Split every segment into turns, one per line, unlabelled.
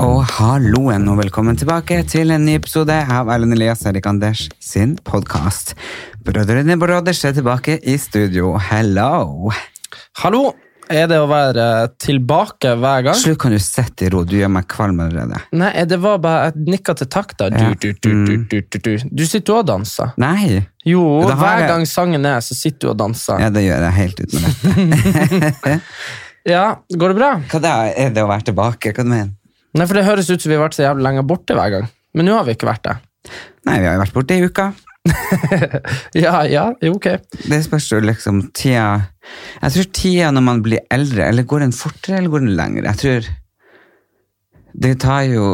Og halloen, og velkommen tilbake til en ny episode av Erlend Elias Erik Anders sin podkast. Brødrene Broders er tilbake i studio. Hello!
Hallo! Er det å være tilbake hver gang?
Slutt, kan du sitte i ro? Du gjør meg kvalm allerede.
Nei, det var bare Jeg nikka til takta. Du,
Ja.
du, du, du, du, du, du. du sitter jo og danser.
Nei!
Jo,
Det har
hver
jeg-
gang sangen er, så sitter du og danser.
Ja, det gjør jeg helt uten å vite.
Ja, Går det bra?
Hva da? er det å være tilbake? Hva du mener
Nei, for Det høres ut som vi har vært så jævlig lenge borte hver gang. Men nå har vi ikke vært det.
Nei, vi har jo vært borte i uka.
Ja, ja, jo, ok.
Det spørs jo liksom tida Jeg tror tida når man blir eldre, eller går den fortere eller går den lengre? Jeg tror Det tar jo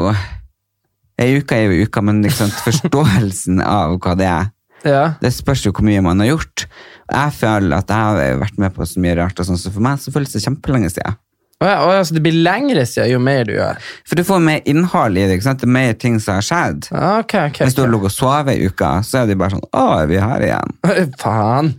Ei uke er jo ei uke, men liksom forståelsen av hva det er
Ja.
Det spørs jo hvor mye man har gjort. Jeg føler at jeg har vært med på så mye rart, og sånn, så for meg så føles det kjempelenge siden.
Å ja, å ja, så det blir lengre siden jo mer du gjør.
For du får mer innhold i det, ikke sant? det er mer ting som har skjedd.
Ja, Ok, ok.
Hvis du har
ok.
ligget og sovet ei uke, så er det bare sånn Å, er vi her igjen?
Faen.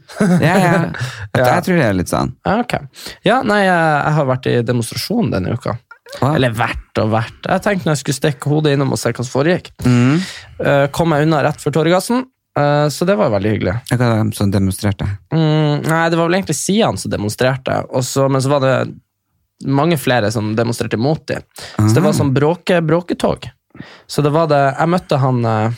Ja, ja. At
Ja.
Jeg tror det er litt sånn.
Ja, Ah, ok. Ja, nei, jeg, jeg har vært i demonstrasjon denne uka.
Hva?
Eller vært og vært. Jeg tenkte når jeg skulle stikke hodet innom og se hva som foregikk. Eh, kom jeg unna rett før Torgassen, eh, så det var veldig hyggelig.
Hva var det som demonstrerte?
Mm, nei, det var vel egentlig Sian som demonstrerte, og så, men så var det mange flere som demonstrerte mot dem. Så det var sånn bråke, bråketog. Så det var det Jeg møtte han eh,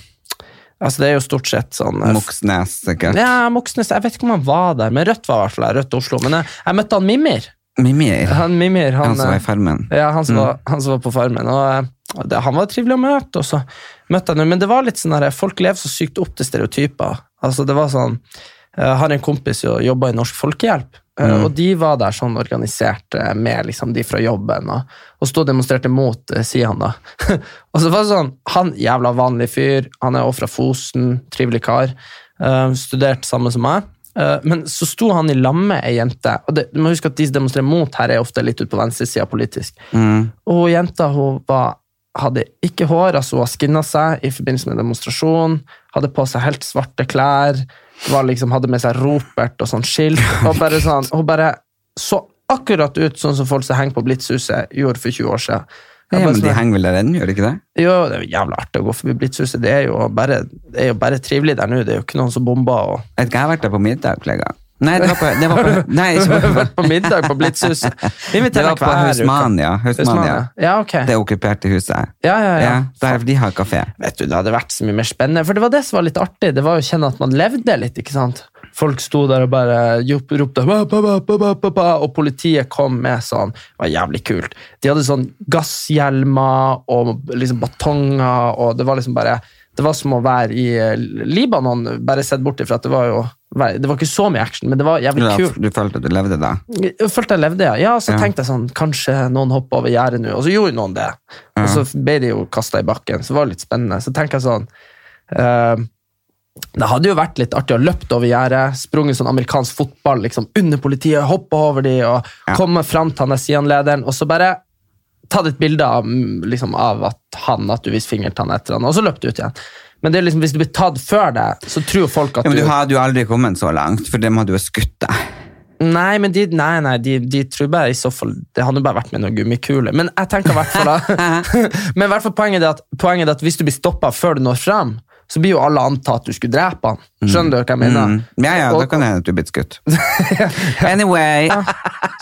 Altså, det er jo stort sett sånn eh,
Moxnes, sikkert.
Ja, Moxnes. Jeg vet ikke om han var der, men Rødt var i hvert fall der. Rødt Oslo. Men eh, jeg, jeg møtte han Mimir.
Mimir, han,
Han Mimir, han,
som var i
eh,
Mm. Farmen.
ja, han som, var, han som var på farmen. Og, eh, det, han var trivelig å møte, og så møtte jeg nå. Men det var litt sånn der, folk lever så sykt opp til stereotyper. Altså, det var sånn, jeg har en kompis som jobba i Norsk Folkehjelp, eh,
Mm.
og de var der sånn organisert eh, med liksom, de fra jobben, og, og stod og demonstrerte mot, eh, sier han da. og så var det sånn, han jævla vanlig fyr, han er også fra Fosen, trivelig kar, eh, studert samme som meg. Eh, Men så sto han i lam med ei jente. Og det, du må huske at De som demonstrerer mot her, er ofte litt ut på venstresida politisk.
Mm.
Og jenta hun var, hadde ikke hår, altså hun har skinna seg i forbindelse med demonstrasjon. Hadde på seg helt svarte klær. Var liksom, hadde med seg ropert og sånn skilt. Og bare sånn, hun bare så akkurat ut sånn som folk som henger på Blitzhuset, gjorde for 20 år siden. Jeg
Ja,
bare
men de
sånn-
henger vel der ennå, gjør de ikke det?
jo, det er jo jævla artig å gå forbi Blitzhuset. Det er jo bare, det er jo bare trivelig der nå. Det er jo ikke noen som bomber. og
Jeg vet ikke, jeg har vært der på middag flere ganger. Nei, det var på, det var på Nei,
Du
ikke
har
på
vært på middag på Blitzhuset. Vi
Det
inviterer
var
deg
på
hver uke.
Husmania. Husmania.
Husmania. Ja, ok.
Det okkuperte huset.
Ja, ja, ja.
der de har kafé.
Vet du, Det hadde vært så mye mer spennende. For det var det som var litt artig. Det var jo å kjenne at man levde litt. ikke sant? Folk sto der og bare jop- ropte ba, ba, ba, ba, ba, ba, ba, Og politiet kom med sånn. Det var jævlig kult. De hadde sånn gasshjelmer og liksom batonger, og det var liksom bare Det var som å være i eh, Libanon, bare sett bort ifra at det var jo Det var ikke så mye action, men det var
Du,
jævlig kult.
du følte at du levde da?
Jeg følte jeg levde, ja. ja så
Ja.
tenkte jeg sånn, kanskje noen hopper over gjerdet nå. Og så gjorde noen det. Og så ble de jo kasta i bakken. Så det var litt spennende. Så tenker jeg sånn eh, Det hadde jo vært litt artig å løpt over gjerdet, sprunget sånn amerikansk fotball liksom under politiet, hoppa over de og komme fram til han der Sian-lederen, og så bare tatt et bilde av, mm, liksom, av at han, at du viste fingeren til han etter han, og så løp du ut igjen. Men det er liksom, hvis du blir tatt før det, så tror jo folk at
Ja, men du hadde jo aldri kommet så langt, for dem hadde jo skutt deg.
Nei, men de, nei, nei, de, de tror bare i så fall Det hadde jo bare vært med noen gummikuler. Men jeg tenker i hvert fall da, Men i hvert fall poenget er at, poenget er at hvis du blir stoppa før du når fram, så blir jo alle antatt at du skulle drepe han. Skjønner du hva jeg mener?
Mm. Ja, ja, da
Og-
kan det hende at du er blitt skutt. Anyway.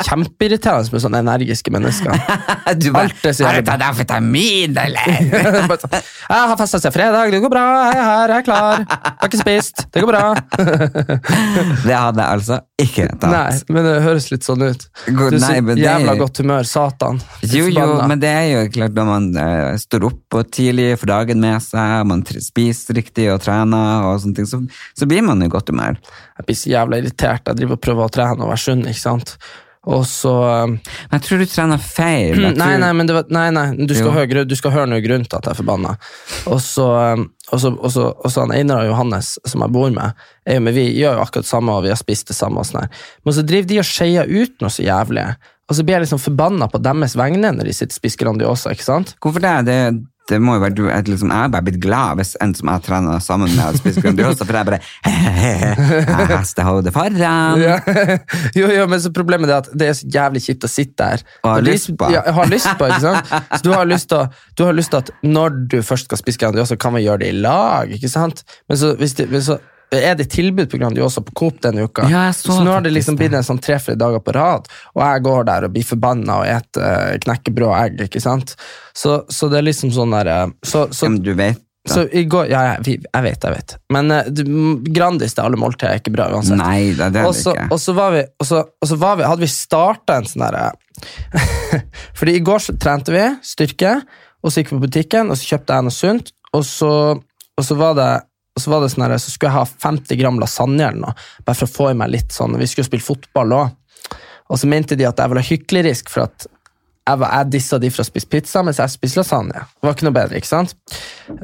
Kjempeirriterende med sånne energiske mennesker.
Du
bare, "Har du tatt
amfetamin, eller?
Bare sånn, jeg har festa seg fredag, det går bra, jeg er her, jeg er klar. Jeg har ikke spist, det går bra.
Det hadde jeg altså ikke
Nei,
tatt.
men det høres litt sånn ut.
God-
du er
nei,
så
men det-
jævla godt humør, satan.
Jo, jo,
Forbanna.
men det er jo klart når man eh, står opp og tidlig, får dagen med seg, man tr- spiser riktig og trener og sånne ting, så, så blir man i godt humør.
Jeg blir så jævla irritert. Jeg driver og prøver å trene og være sunn, ikke sant. Og så um,
Men jeg tror du trener feil. Jeg
Mm, Nei,
tror-
nei, men det var, nei, nei du, skal
Jo.
høre, grunn- du skal høre noe grunn til at jeg er forbanna. Og så, um, og så, og så, og så han Einar og Johannes, som jeg bor med, er jo med, vi gjør jo akkurat det samme, og vi har spist det samme. og sånn her. Men så driver de og skeier ut noe så jævlig. Og så blir jeg liksom forbanna på deres vegne når de sitter og spiser Grandiosa. ikke sant?
Hvorfor det? det? Det må jo være du, at liksom, Jeg er bare blitt glad hvis en som jeg trener sammen med, hadde spist Grandiosa, for jeg bare Jeg hester hodet foran.
Ja. Jo, jo, men så problemet er at det er så jævlig kjipt å sitte der.
Og har
Og de-
lyst på.
Ja, jeg har lyst på, ikke sant? Så du har lyst til å- du har lyst til at når du først skal spise Grandiosa, kan vi gjøre det i lag, ikke sant? Men så, hvis det, men så er det tilbud på Grandiosa på Coop denne uka.
Ja, jeg så
nå har det liksom
faktisk det.
blitt en sånn tre-fire dager på rad, og jeg går der og blir forbanna og et eh, knekkebrød og egg, ikke sant? Så, så det er liksom sånn der eh, så, så,
Som du vet.
så i går, ja, ja, vi- jeg vet, jeg vet. Men eh, du- Grandis til alle måltider er ikke bra uansett.
Nei, det er det
Og så,
ikke.
og så var vi, og så, og så var vi, hadde vi starta en sånn derre Fordi i går så trente vi styrke, og så gikk vi på butikken, og så kjøpte jeg noe sunt, og så, og så var det og så var det sånn her, så skulle jeg ha 50 gram lasagne eller noe, bare for å få i meg litt sånn. Vi skulle spille fotball òg. Og så mente de at jeg ville ha hyklerisk for at jeg, var, jeg dissa de for å spise pizza, mens jeg spiste lasagne. Det var ikke noe bedre, ikke sant?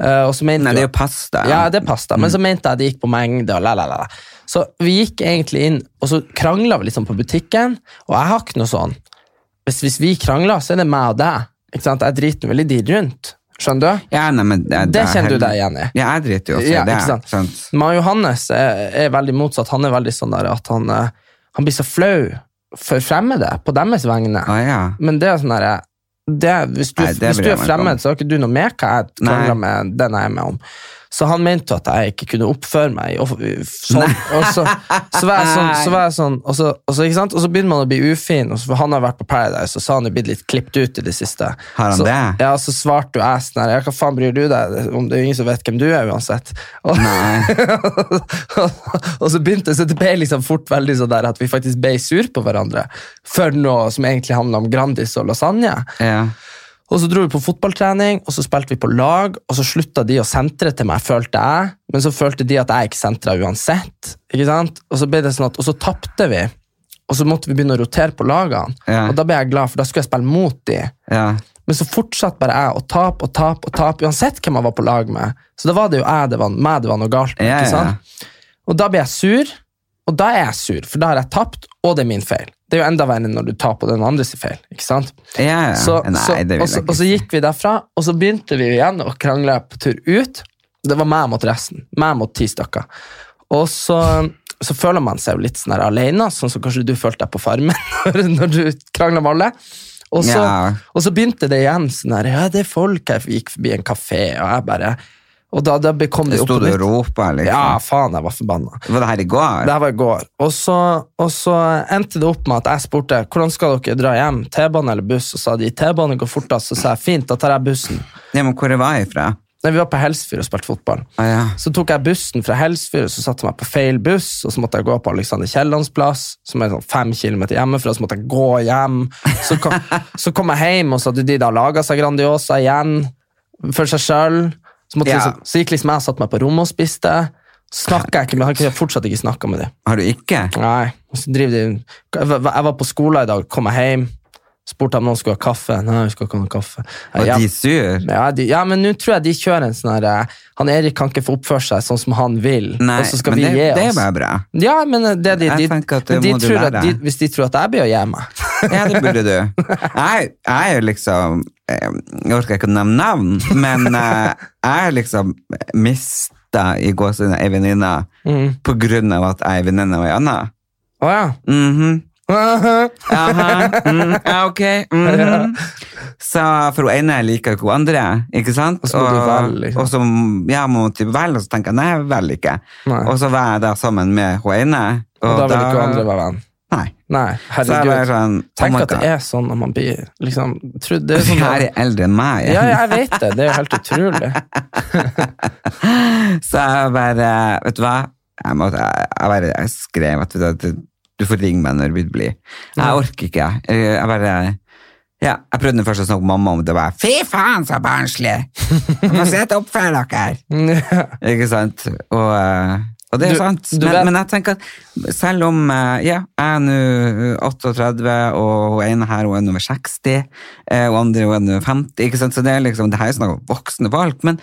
Eh, og så mente
Nei,
jo-
det er jo pasta. Mm.
ja, det pasta. Men så mente jeg det gikk på mengde. og la, la, la, la. Så vi gikk egentlig inn, og så krangla vi liksom på butikken. Og jeg har ikke noe sånn. Hvis, hvis vi krangler, så er det meg og deg. Ikke sant? Jeg driter nå vel i de rundt. Skjønner du?
Ja, nei, men det,
Det
er
kjenner du
heller-
deg igjen i.
Ja, jeg driter jo også
Ja,
i Altså, det.
ikke sant?
sant?
Men han Johannes er, er veldig motsatt. Han er veldig sånn der at han, eh, han blir så flau for fremmede på deres vegne.
Å ja.
Men det er sånn der, det, hvis, du,
Nei, det
hvis
bryr
du
jeg meg
er
ikke om.
fremmed, så har ikke du noe med hva jeg krangler
Nei.
med den jeg er med om. Så han mente jo at jeg ikke kunne oppføre meg. Og, sånn, og så, så var jeg sånn, så var jeg sånn og, så, og, så, ikke sant? og så begynner man å bli ufin, og så, for han har vært på Paradise, og så har han jo blitt litt klippet ut i det siste.
Har han
så,
det?
Ja, så svarte jo jeg sånn her, ja, hva faen bryr du deg om, det er jo ingen som vet hvem du er uansett. Og, og så begynte så det ble liksom fort veldig sånn der at vi faktisk ble sur på hverandre for noe som egentlig handla om Grandis og lasagne.
ja.
Og så dro vi på fotballtrening, og så spilte vi på lag, og så slutta de å sentre til meg, følte jeg, men så følte de at jeg ikke sentra uansett. ikke sant? Og så ble det sånn at, og så tapte vi, og så måtte vi begynne å rotere på lagene.
Ja.
Og da ble jeg glad, for da skulle jeg spille mot de.
ja.
Men så fortsatte bare jeg å tape og tape og tape, uansett hvem jeg var på lag med. Så da var det jo jeg det var, meg det var noe galt med.
Ja,
ikke
ja.
sant? Og da blir jeg sur, og da er jeg sur, for da har jeg tapt, og det er min feil. Det er jo enda verre når du tar på den andres feil. ikke sant?
ja, ja.
Så,
Nei,
så,
det
og,
vil
så,
jeg
og så
ikke.
gikk vi derfra, og så begynte vi igjen å krangle på tur ut. Det var meg mot resten. Meg mot ti stykker. Og så, så føler man seg jo litt sånn her alene, sånn som kanskje du følte deg på Farmen når, når du krangla med alle. Og så,
Ja.
og så begynte det igjen sånn her Ja, det er folk her. Vi gikk forbi en kafé, og jeg bare Og da, da kom det
Det
jo opp
sto
på
du og
nytt.
ropa,
Ja,
liksom.
faen, jeg var forbanna.
Var det her i går?
Det her var i går. Og så, og så endte det opp med at jeg spurte hvordan skal dere dra hjem. T-bane eller buss? Og sa de T-bane går fortest. Så sa jeg fint, da tar jeg bussen.
Ja, men hvor jeg var ifra?
Nei, Vi var på Helsfyr og spilte fotball.
Å ja.
Så tok jeg bussen fra Helsfyr, og så satte jeg meg på feil buss, og så måtte jeg gå på Alexander Kiellands plass, som er sånn fem kilometer hjemmefra, så måtte jeg gå hjem. Så kom, så kom jeg hjem, og så hadde de da laga seg Grandiosa igjen, for seg sjøl. Så, måtte
Ja.
liksom, så gikk liksom jeg og satte meg på rommet og spiste. Snakka jeg ikke med, jeg har fortsatt ikke snakka med dem.
Har du ikke?
Nei, og så driver de Jeg var- jeg var på skolen i dag, kom jeg hjem Spurte om noen skulle ha kaffe Nei, vi skal ikke ha noen kaffe
Og
ja,
de sur?
ja, de, ja, men nå tror jeg de kjører en sånn her eh, Han Erik kan ikke få oppføre seg sånn som han vil
Nei,
Og så skal
men
vi
det,
gi
det er
oss
bare bra.
Ja, men eh, det de,
Jeg
de,
tenker at
men
det
de
må du
tror at
lære.
de, Hvis de tror at jeg blir å gi meg
Ja, det burde du. Jeg, jeg er jo liksom eh, Jeg orker ikke å nevne navn, men eh, jeg er liksom mista i
Mm.
gåsehudet ei venninne på grunn av at jeg er venninne med ei anna.
Åja,
Mhm. Aha, mm, ja, ok. mhm. Så for hun ene liker jo ikke hun andre, ikke sant?
Og så må du velge, liksom.
og så ja, må hun typ velge, og så tenker jeg nei, jeg velger ikke.
Nei.
Og så var jeg da sammen med hun ene.
Og da vil ikke andre være venn.
Nei.
Nei,
Så jeg bare
herregud.
sånn, oh
Tenk
my
at det
God.
er sånn når man blir liksom, tro- det er
De
sånn,
her er eldre enn meg.
Ja, jeg vet det. Det er jo helt utrolig.
Så jeg bare, vet du hva? Jeg, måtte, jeg, jeg bare jeg skrev at vet du, hva, du- du får ringe meg når du vil bli. Jeg orker ikke. Jeg, jeg bare, ja, jeg prøvde først å snakke med mamma om det, og bare, fy faen, så barnslig! Jeg må sette opp for dere! Ikke sant? Og, eh, og det er jo
Du-
sant.
du
Men,
vet-
men jeg tenker at selv om eh, ja, jeg er nå 38, og hun ene her hun er nå over 60, eh, og andre hun er nå 50, ikke sant? så det er liksom, det her er snakk om voksne folk. Men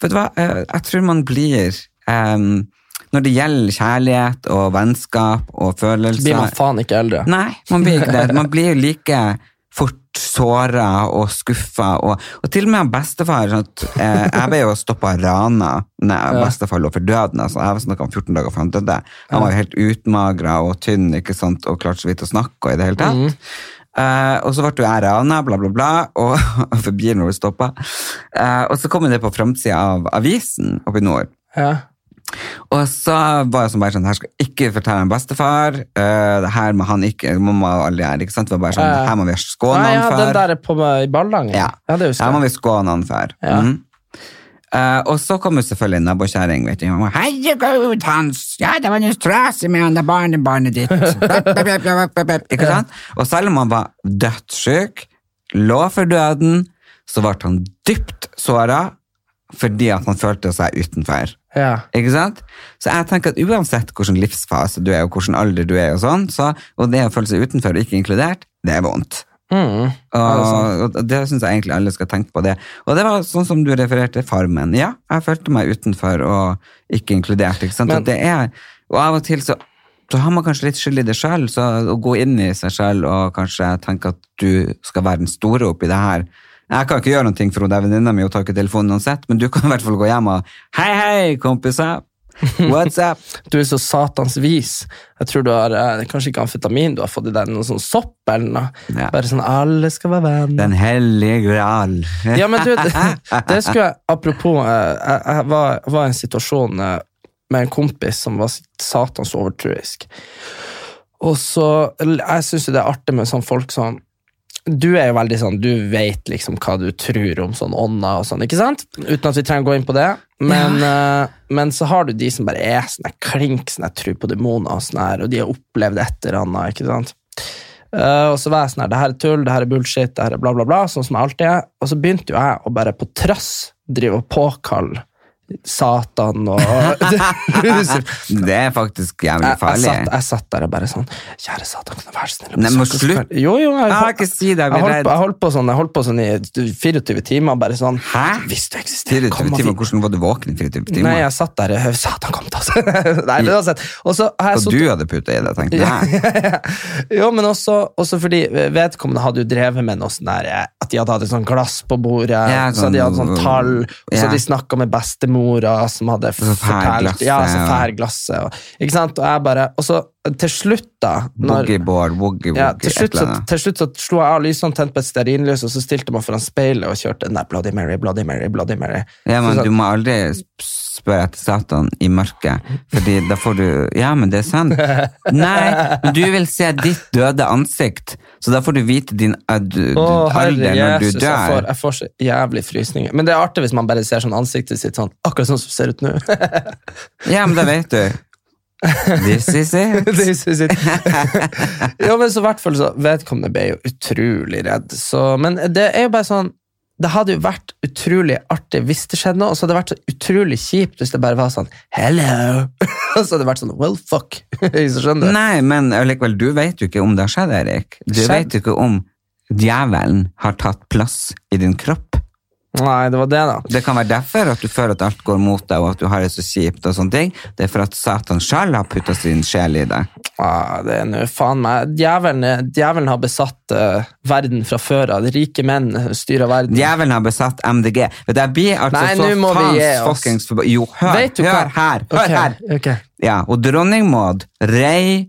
vet du hva, Eh, jeg tror man blir em, Når det gjelder kjærlighet og vennskap og følelser
Blir man faen ikke eldre?
Nei, man blir ikke det. Man blir jo like fort såra og skuffa. Og, og til og med han bestefar sånn at, eh, Jeg ble jo stoppa av rana når
Ja.
bestefar lå for døden. Altså. Jeg snakka om 14 dager før han døde. Han var jo helt utmagra og tynn ikke sant? og klarte så vidt å snakke. Og i det hele tatt. Eh, og så ble jo jeg rana, bla, bla, bla, og for bilen ble stoppa. Eh, og så kom det på framsida av avisen oppe i nord.
Ja.
Og så var jeg sånn bare sånn, her skal jeg ikke fortelle en bestefar, eh, det her må han ikke, mamma og alle her, ikke sant? Det var bare sånn,
Ja, ja.
det her må vi skåne
Nei,
han
ja,
for.
den der er på meg i Ballangen.
Ja.
det husker
Her må
jeg.
vi skåne han for.
Ja.
Mhm. Eh, og så kom jo selvfølgelig en nabokjæring, vet du. Hun var, Herregud, Hans! Ja, det var noe stress med han der barnebarnet ditt. Bep, bep, bep, bep, bep, bep. Ikke sant? Og selv om han var dødssyk, lå for døden, så ble han dypt såret, fordi at han følte seg utenfor.
Ja.
Ikke sant? Så jeg tenker at uansett hvilken livsfase du er, og hvilken alder du er, og sånn, så, og det å føle seg utenfor og ikke inkludert, det er vondt.
Mm.
Og, Ah, og det syns jeg egentlig alle skal tenke på det. Og det var sånn som du refererte Farmen. Ja, jeg følte meg utenfor og ikke inkludert. ikke sant? og,
Men-
det er, og av og til så, så har man kanskje litt skyld i det sjøl, så å gå inn i seg sjøl og kanskje tenke at du skal være den store oppi det her. Jeg kan ikke gjøre noe for hun der venninna mi, hun tar ikke telefonen uansett, men du kan i hvert fall gå hjem og Hei, hei, kompiser! What's up?
Du er så satans vis. Jeg tror du har eh, kanskje ikke amfetamin, du har fått i deg noe sånn sopp eller noe.
Ja.
Bare sånn alle skal være venner.
Den hellige gral.
Ja, men du, det, det skulle jeg, apropos, eh, jeg, jeg var, var i en situasjon eh, med en kompis som var satans overtruisk. Og så, eller, jeg synes jo det er artig med sånn folk som, du er jo veldig sånn, du vet liksom hva du tror om sånn ånda og sånn, ikke sant? Uten at vi trenger å gå inn på det. Men, eh, men så har du de som bare er sånn, klink, sånn, jeg tror på dæmoner og sånn her, og de har opplevd et eller annet, ikke sant? Eh, og så var jeg sånn her, det her er tull, det her er bullshit, det her er bla, bla, bla. Sånn som jeg alltid er. Og så begynte jo jeg å bare på trass drive og påkalle Satan og Lucifer.
Det er faktisk jævlig
Jeg, jeg,
farlig.
satt, jeg satt der og bare sånn Kjære Satan, kan du være så snill? å
Nei, men
besøke oss i
slutt.
kveld?» Jo, jo, jeg,
Ah, ikke si det, jeg
jeg,
blir
holdt, på-
redd.
jeg, holdt på sånn, jeg holdt på sånn i 24 timer, bare sånn
Hæ?
Hvis du eksisterer,
24
kom og
timer,
vi
hvordan var du våken i 24 timer?
Nei, jeg satt der og Satan, kom til oss! Nei, men uansett. Og så har jeg
og
sittet
du hadde putta i det, tenkte jeg.
jo, men også, også fordi vedkommende hadde jo drevet med noe sånn der eh, At de hadde hatt et sånt glass på bordet,
Ja,
så
sånn-
de hadde sånn tall, og så
Ja.
de snakka med bestemora som hadde
Så fær glasset,
fortalt Ja, så
ja.
fær glasset, og Ikke sant? Og jeg bare Og så til slutt, da når-
Boogieboard, woogie-woogie,
ja, til,
et
slutt,
eller
så,
annet.
til slutt så slo jeg av lysene, tente på et stearinlys, og så stilte man foran speilet og kjørte den der Bloody Mary, Bloody Mary, Bloody Mary.
Ja, men
Så-
du må aldri sp- spørre etter Satan i mørket, fordi da får du Ja, men det er sant. Nei, men du vil se ditt døde ansikt, så da får du vite din eh, du-
Å,
du-
herre
alder når du
Jesus, jeg får,
dør.
jeg får så jævlig frysninger. Men det er artig hvis man bare ser sånn ansiktet sitt sånn, akkurat sånn som det ser ut nå.
Ja, men da vet du. This is it.
This is it. ja, men så i hvert fall så vedkommende ble jo utrolig redd. Så, men det er jo bare sånn, det hadde jo vært utrolig artig hvis det skjedde noe, og så hadde det vært så utrolig kjipt hvis det bare var sånn, hello. og så hadde det vært sånn, well, fuck. så skjønner du.
Nei, men allikevel, du vet jo ikke om det har skjedd, Erik. Du
Skjedd?
vet jo ikke om djevelen har tatt plass i din kropp.
Nei, det var det da.
Det kan være derfor at du føler at alt går mot deg, og at du har det så kjipt. og sånne ting. Det er for at Satan sjøl har putta sin sjel i deg.
Ah, det er nå faen meg Djevelen, er- djevelen har besatt eh, verden fra før av. De Rike menn styrer verden.
Djevelen har besatt MDG. Vet du, jeg blir altså
Nei,
så
nå må vi
faens
gi oss.
fuckings forba... Jo, hør,
Vet du
hør
hva?
her! Hør
Ok,
her.
ok.
Ja, og dronning Maud, rei,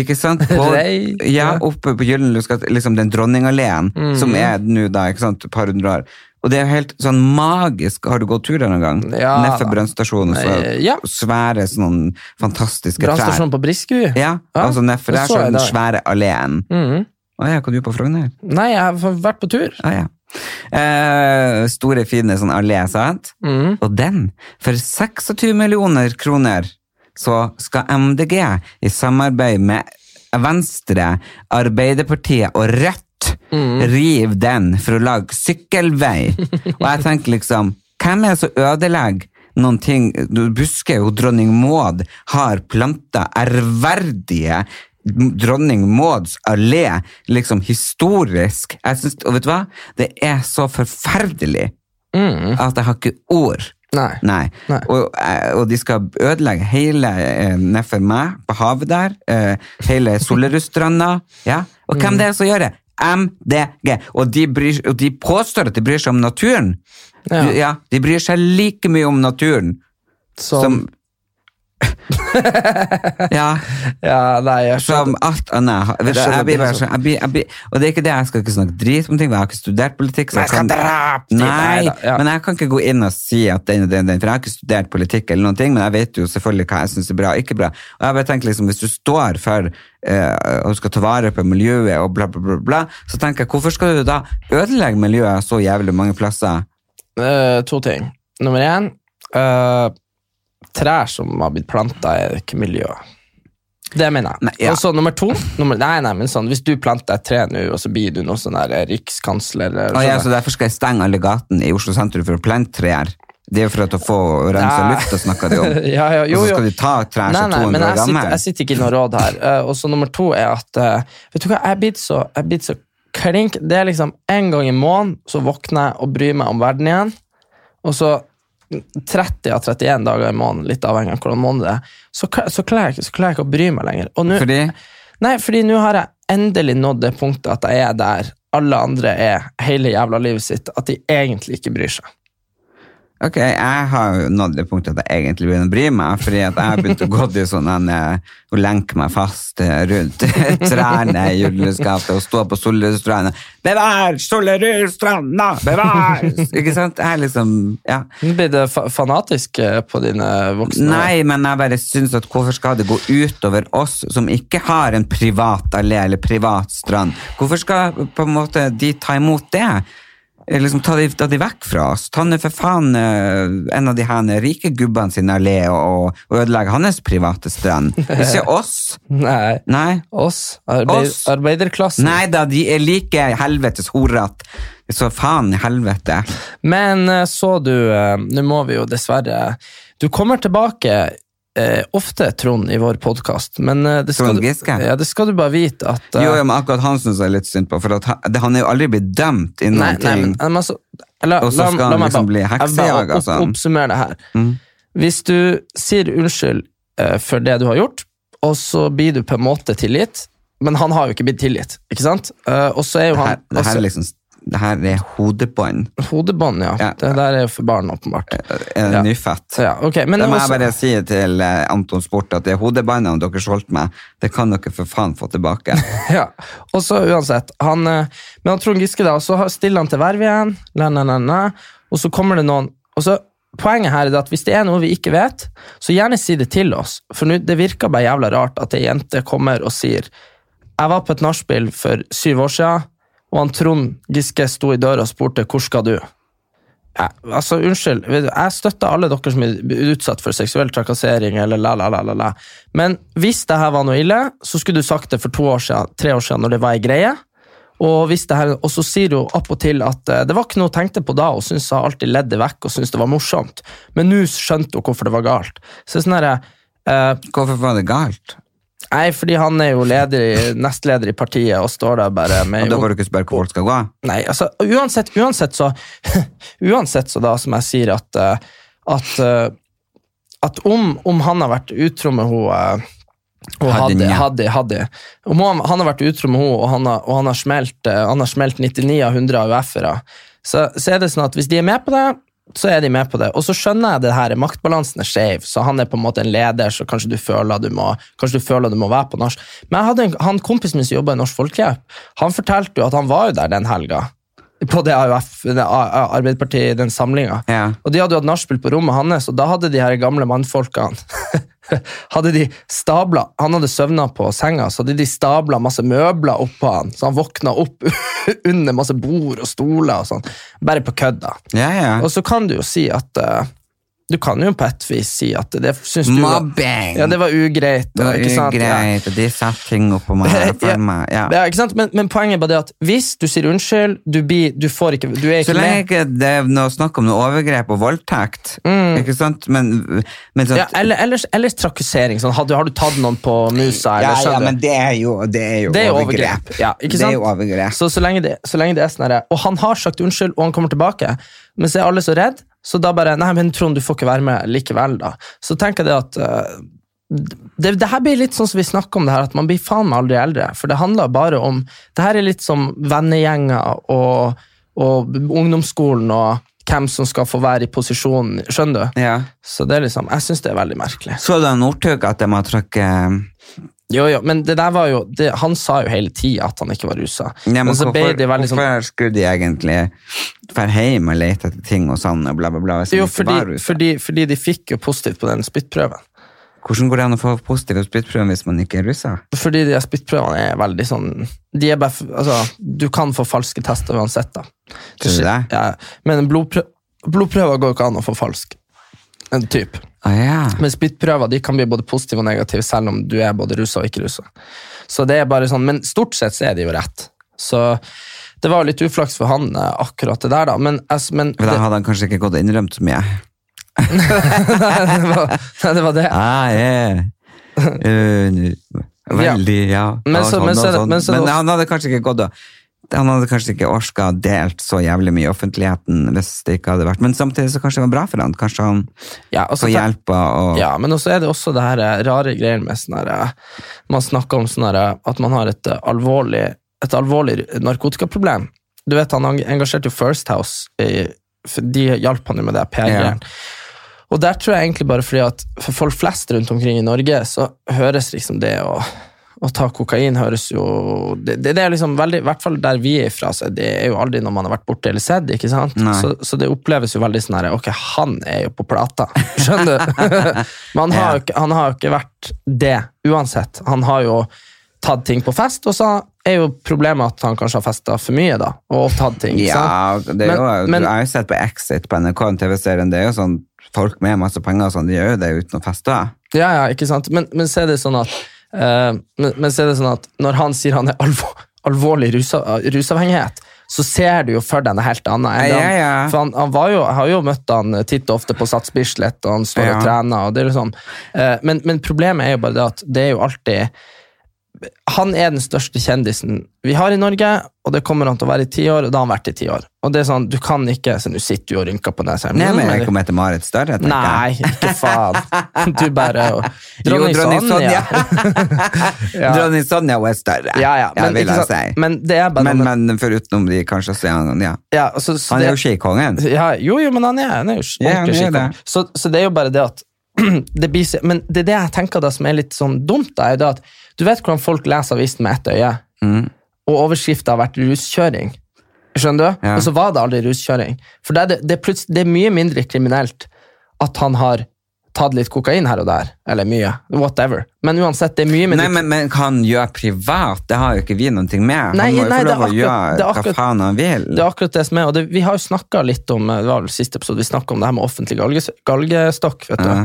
ikke sant? På,
Rei,
ja,
ja. Mm.
oppe på Gyldenløs gate, liksom den dronningalleen, som er nå da, ikke sant, et par hundre år. Og det er jo helt sånn magisk. Har du gått tur der noen gang?
Ja.
Ned fra brannstasjonen, og så
Eh, ja.
svære sånne fantastiske trær.
Brannstasjonen på Brisku?
Ja,
Ja,
altså nedfor der
det så
så er
jeg
den
der.
svære alleen.
Mhm.
Å ja, hva du på Frogner?
Nei, jeg har vært på tur.
Ah, ja. Eh, store, fine sånn allé, sant?
Mhm.
Og den, for 26 millioner kroner, så skal MDG i samarbeid med Venstre, Arbeiderpartiet og Rødt rive den for å lage sykkelvei. Og jeg tenker liksom, hvem er det som ødelegger noen ting? Du husker jo dronning Maud har planta ærverdige dronning Mauds allé, liksom historisk. Jeg synes, og vet du hva? Det er så forferdelig
Mhm.
at jeg har ikke ord.
Nei.
Nei.
Nei.
Og, eh, og de skal ødelegge hele eh, nedfor meg, på havet der. Eh, hele Solerudstranda. Ja. Og
Mm.
hvem det er som gjør det? MDG. Og de, bryr, og de påstår at de bryr seg om naturen.
Ja.
Du- ja, de bryr seg like mye om naturen
Som,
som Ja,
Ja, nei, jeg skjønner.
som alt annet. Vet du,
Jeg skjønner
Jeg blir
det,
bare
altså.
sånn jeg blir- jeg blir- Og det er ikke det, jeg skal ikke snakke drit om ting, for jeg har ikke studert politikk. Så
Men jeg skal drepe deg.
Nei,
Neida, ja.
men jeg kan ikke gå inn og si at den og den, den, for jeg har ikke studert politikk eller noen ting, men jeg vet jo selvfølgelig hva jeg syns er bra og ikke bra. Og jeg bare tenker liksom, hvis du står for eh, og skal ta vare på miljøet og bla, bla, bla, bla, så tenker jeg, hvorfor skal du da ødelegge miljøet så jævlig mange plasser?
Eh, to ting. Nummer én eh, Trær som har blitt planta, er ikke miljøet. Det mener jeg.
Nei, ja.
Og så nummer to nummer, Nei, nei, men sånn, Hvis du planter et tre nå, og så blir du noe sånn der eh, rikskansler
Og
eller
ja,
sånn
så altså, derfor skal jeg stenge alle gatene i Oslo sentrum for å plante trær. Det er jo for at å få rensa
Nei.
lufta, snakker de om.
der. ja, ja,
og
jo,
så
jo.
skal de ta trær
Nei,
som
nei,
200
men
år
jeg sitter,
gamle.
jeg sitter ikke i noe råd her. Eh, og så nummer to er at eh, Vet du hva, jeg er blitt så, jeg er blitt så klink. Det er liksom en gang i måneden så våkner jeg og bryr meg om verden igjen. Og så 30 av 31 dager i måneden, litt avhengig av hvordan måned det er, så, kla- så, klarer jeg, ikke- så klarer jeg ikke å bry meg lenger. Og nå-
Fordi
Nei, fordi nå har jeg endelig nådd det punktet at jeg er der alle andre er hele jævla livet sitt, at de egentlig ikke bryr seg.
Ok, jeg har jo nådd det punktet at jeg egentlig begynner å bry meg, fordi at jeg har begynt å gå til sånn en, eh, å lenke meg fast eh, rundt trærne i juleskatet og stå på Solerudstranda. Bevar Solerudstranda! Bevar! Ikke sant? Jeg er liksom, ja.
Nå blir det fa fanatisk eh, på dine voksne.
Nei, men jeg bare syns at hvorfor skal det gå utover oss som ikke har en privat allé eller privat strand? Hvorfor skal på en måte de ta imot det? Eh, Liksom ta de, ta de vekk fra oss. Ta nå for faen eh, en av de her rike gubbene sin allé og, og ødelegge hans private strand. Ikke oss.
Nei.
Nei.
Oss, arbeid,
Oss.
arbeiderklassen.
Nei da, de er like helvetes horete. Så faen i helvete.
Men eh, så du eh, Nå må vi jo dessverre Du kommer tilbake eh, ofte, Trond, i vår podkast, men eh, det skal,
Trond
du,
Giske?
ja, det skal du bare vite at eh,
Jo, jo, men akkurat han syns jeg er litt synd på, for at han, han er jo aldri blitt dømt innen
Nei,
noen
nei, men,
ting.
men altså, la,
Og så
la,
skal
la
han
meg
liksom
bare-
bli
jeg bare
heksejager,
opp-
altså.
Oppsummere det her.
Mm.
Hvis du sier unnskyld eh, for det du har gjort, og så blir du på en måte tilgitt, men han har jo ikke blitt tilgitt, ikke sant? Eh, og så er jo
Det
han
her, det her
altså,
er liksom det her er hodebånd.
Hodebånd, ja.
Ja. Eh,
Det der er jo for barn, åpenbart.
Er det
Ja.
nyfødt?
Så ja, ok, men
Det må
også-
jeg bare si til eh, Anton Sport at det hodebåndene dere solgte meg, det kan dere for faen få tilbake.
Ja, og så uansett han, eh, Men han Trond Giske da Så har- stiller han til verv igjen la, la, la, la, Og så kommer det noen og så, Poenget her er det at hvis det er noe vi ikke vet Så gjerne si det til oss For nå, det virker bare jævla rart at en jente kommer og sier Jeg var på et narspill for syv år siden Og han Trond Giske sto i døra og spurte Hvor skal du? Jeg, altså, unnskyld, vet du, jeg støtter alle dere som er utsatt for seksuell trakassering, eller la, la, la, la, la. Men hvis det her var noe ille, så skulle du sagt det for to år siden, tre år siden, når det var ei greie. Og, hvis det her, og så sier hun opp og til at eh, det var ikke noe hun tenkte på da, og syntes hun alltid ledde vekk og syntes det var morsomt. Men nå skjønte hun hvorfor det var galt. Så det er sånn her, eh,
Hvorfor var det galt?
Nei, fordi han er jo leder i, nestleder i partiet og står der bare
Og
med
da kan du ikke spørre hvor folk skal gå?
Nei, altså, uansett, uansett så Uansett så da, som jeg sier, at eh, At, eh, at om, om han har vært utro med henne Og
Hadde,
hadde,
ja.
hadde, hadde. Og må, han han har vært utro med henne, og han har, og han har, smelt, eh, han har smelt 99 av 100 AUF-ere. Så, så er det sånn at hvis de er med på det, så er de med på det. Og så skjønner jeg det her, maktbalansen er skjev, så han er på en måte en leder, så kanskje du føler du må, kanskje du føler du må være på norsk. Men jeg hadde en, han kompisen min som jobba i Norsk Folkehjelp, han fortalte jo at han var jo der den helga. På det AUF, det A- Arbeiderpartiet, den samlinga.
Ja.
Og de hadde jo hatt nachspiel på rommet hans, og da hadde de her gamle mannfolkene hadde de stablet, Han hadde søvna på senga, så hadde de stabla masse møbler oppå han, så han våkna opp under masse bord og stoler og sånn. Bare på kødd, da.
Ja, ja.
Og så kan du jo si at eh, Du kan jo på et vis si at det syns du var-
Mobbing!
Ja, det var ugreit.
Det var
ikke sant? Ja.
ugreit, og de satte ting oppå meg. for meg, Ja.
Ja, ikke sant? Men, men poenget er bare det at hvis du sier unnskyld, du, blir, du får ikke Du er
Så
ikke
lenge
med.
ikke det er noe snakk om noe overgrep og voldtekt, ikke sant? Men, men sånn
Mm. Ja, eller, ellers, ellers trakassering. Sånn, har, du, har du tatt noen på
ja,
musa? Eller,
ja,
skjønner du?
men det er jo, det er jo
Det er jo
overgrep.
overgrep. Ja, ikke
Det
sant?
er jo overgrep.
Så, så, lenge det, så lenge det er sånn herre Og han har sagt unnskyld, og han kommer tilbake, men så er alle så redd, så da bare Nei, men Trond, du får ikke være med likevel, da. Så tenker jeg det at eh, det, det her blir litt sånn som vi snakker om det her, at man blir faen meg aldri eldre. For det handler bare om Det her er litt som vennegjenger og, og ungdomsskolen og hvem som skal få være i posisjon, skjønner du?
Ja.
Så det er liksom, jeg syns det er veldig merkelig.
Så da Northug at de har trukket
Jo, jo, men det der var jo det, Han sa jo hele tida at han ikke var rusa.
ja, men
men så ble
hvorfor,
det veldig sånn
hvorfor skulle de egentlig dra hjem og lete etter ting hos han og bla, bla, bla? hvis han
Jo,
ikke var
fordi,
ruset?
fordi, fordi de fikk jo positivt på den spyttprøven.
Hvordan går det an å få positiv spyttprøve hvis man ikke er russa?
Fordi de her spyttprøvene er veldig sånn de er bare, f- altså, Du kan få falske tester uansett, da.
Tror du det?
Ja, men blodprø blodprøver går jo ikke an å få falsk. En typ.
Ah, ja.
Men spyttprøver de kan bli både positive og negative, selv om du er både rusa og ikke rusa. Så det er bare sånn, Men stort sett så er det jo rett. Så det var jo litt uflaks for han, eh, akkurat det der, da. Men, altså, men
For da
det,
hadde han kanskje ikke gått og innrømt så mye.
nei, det, var, nei, det var det.
Ah, yeah. uh, veldig, ja.
Men så-
Ja,
men
og
så er det-
sånn.
men så er det
Men
også-
han hadde kanskje ikke gått og han hadde kanskje ikke orka å delt så jævlig mye i offentligheten hvis det ikke hadde vært Men samtidig så kanskje det var bra for han. Kanskje han
Ja, og så
får
tenk-
hjelp og
Ja, men også er det også det her eh, rare greier med sånn her eh, Man snakker om sånn her eh, at man har et eh, alvorlig, et alvorlig narkotikaproblem. Du vet, han eng- engasjerte jo First House, i, for de hjalp han jo med det PR-greiene. Og der tror jeg egentlig bare fordi at for folk flest rundt omkring i Norge, så høres liksom det å, å ta kokain høres jo det, det, det er liksom veldig, I hvert fall der vi er fra, så det er jo aldri når man har vært borte eller sett. ikke sant?
Nei.
Så, så det oppleves jo veldig sånn her Ok, han er jo på plata, skjønner du? Men han har, jo ikke, han har jo ikke vært det, uansett. Han har jo tatt ting på fest, og så er jo problemet at han kanskje har festa for mye, da, og tatt ting. ikke
Ja,
sant?
det er jo,
Men- men-
jeg har jo sett på Exit på NRK, en TV-serien. Det er jo sånn folk med masse penger og sånn, de gjør jo det uten å feste.
Ja, ja, ikke sant? Men, men så er det sånn at eh, men, men så er det sånn at når han sier han er alvor, alvorlig rusa, rusavhengighet, så ser du jo for deg noe helt annet. enn
Ja,
det han-
ja, ja.
For han, han var jo, jeg har jo møtt han eh, titt og ofte på Sats Bislett, og han står
Ja.
og trener. og det er jo sånn. Eh, men, men problemet er jo bare det at det er jo alltid han er den største kjendisen vi har i Norge, og det kommer han til å være i ti år, og da har han vært i ti år. Og det er sånn, du kan ikke, så Nå sitter du og rynker på nesa.
Nei, men
Men-
jeg kommer etter Marit Større, tenker jeg.
Nei, ikke faen. Du bare
Jo, dronning Sonja.
Ja.
Dronning Sonja, hun er større,
Ja, ja.
Ja,
Men,
vil
ikke
jeg
sant?
si.
men det er bare
Men, men forutenom de, kanskje, så er han ja.
ja, altså, så
Han
det-
er jo skikongen.
ja, Jo, jo, men han er, han er jo
Ja, han er
ordentlig skikkelig.
det.
Så, så det er jo bare det at det blir, så- Men det er det jeg tenker da som er litt sånn dumt, da, er jo det at du vet hvordan folk leser avisen med ett øye,
Mm.
og overskrifta har vært ruskjøring. Skjønner du?
Ja.
Og så var det aldri ruskjøring. For det er, det, det, er plutselig- det er mye mindre kriminelt at han har tatt litt kokain her og der, eller mye, whatever. Men uansett, det er mye mindre
Nei, men, men hva han gjør privat, det har jo ikke vi noe med.
Nei,
han må jo
nei,
få
det
lov
er
å
akkurat- det
gjøre
er akkurat-
hva faen han vil.
Det er akkurat det som er, og det, vi har jo snakka litt om eh, det var vel siste episode, vi snakket om det her med offentlig galges, galgestokk. vet du.
Ja.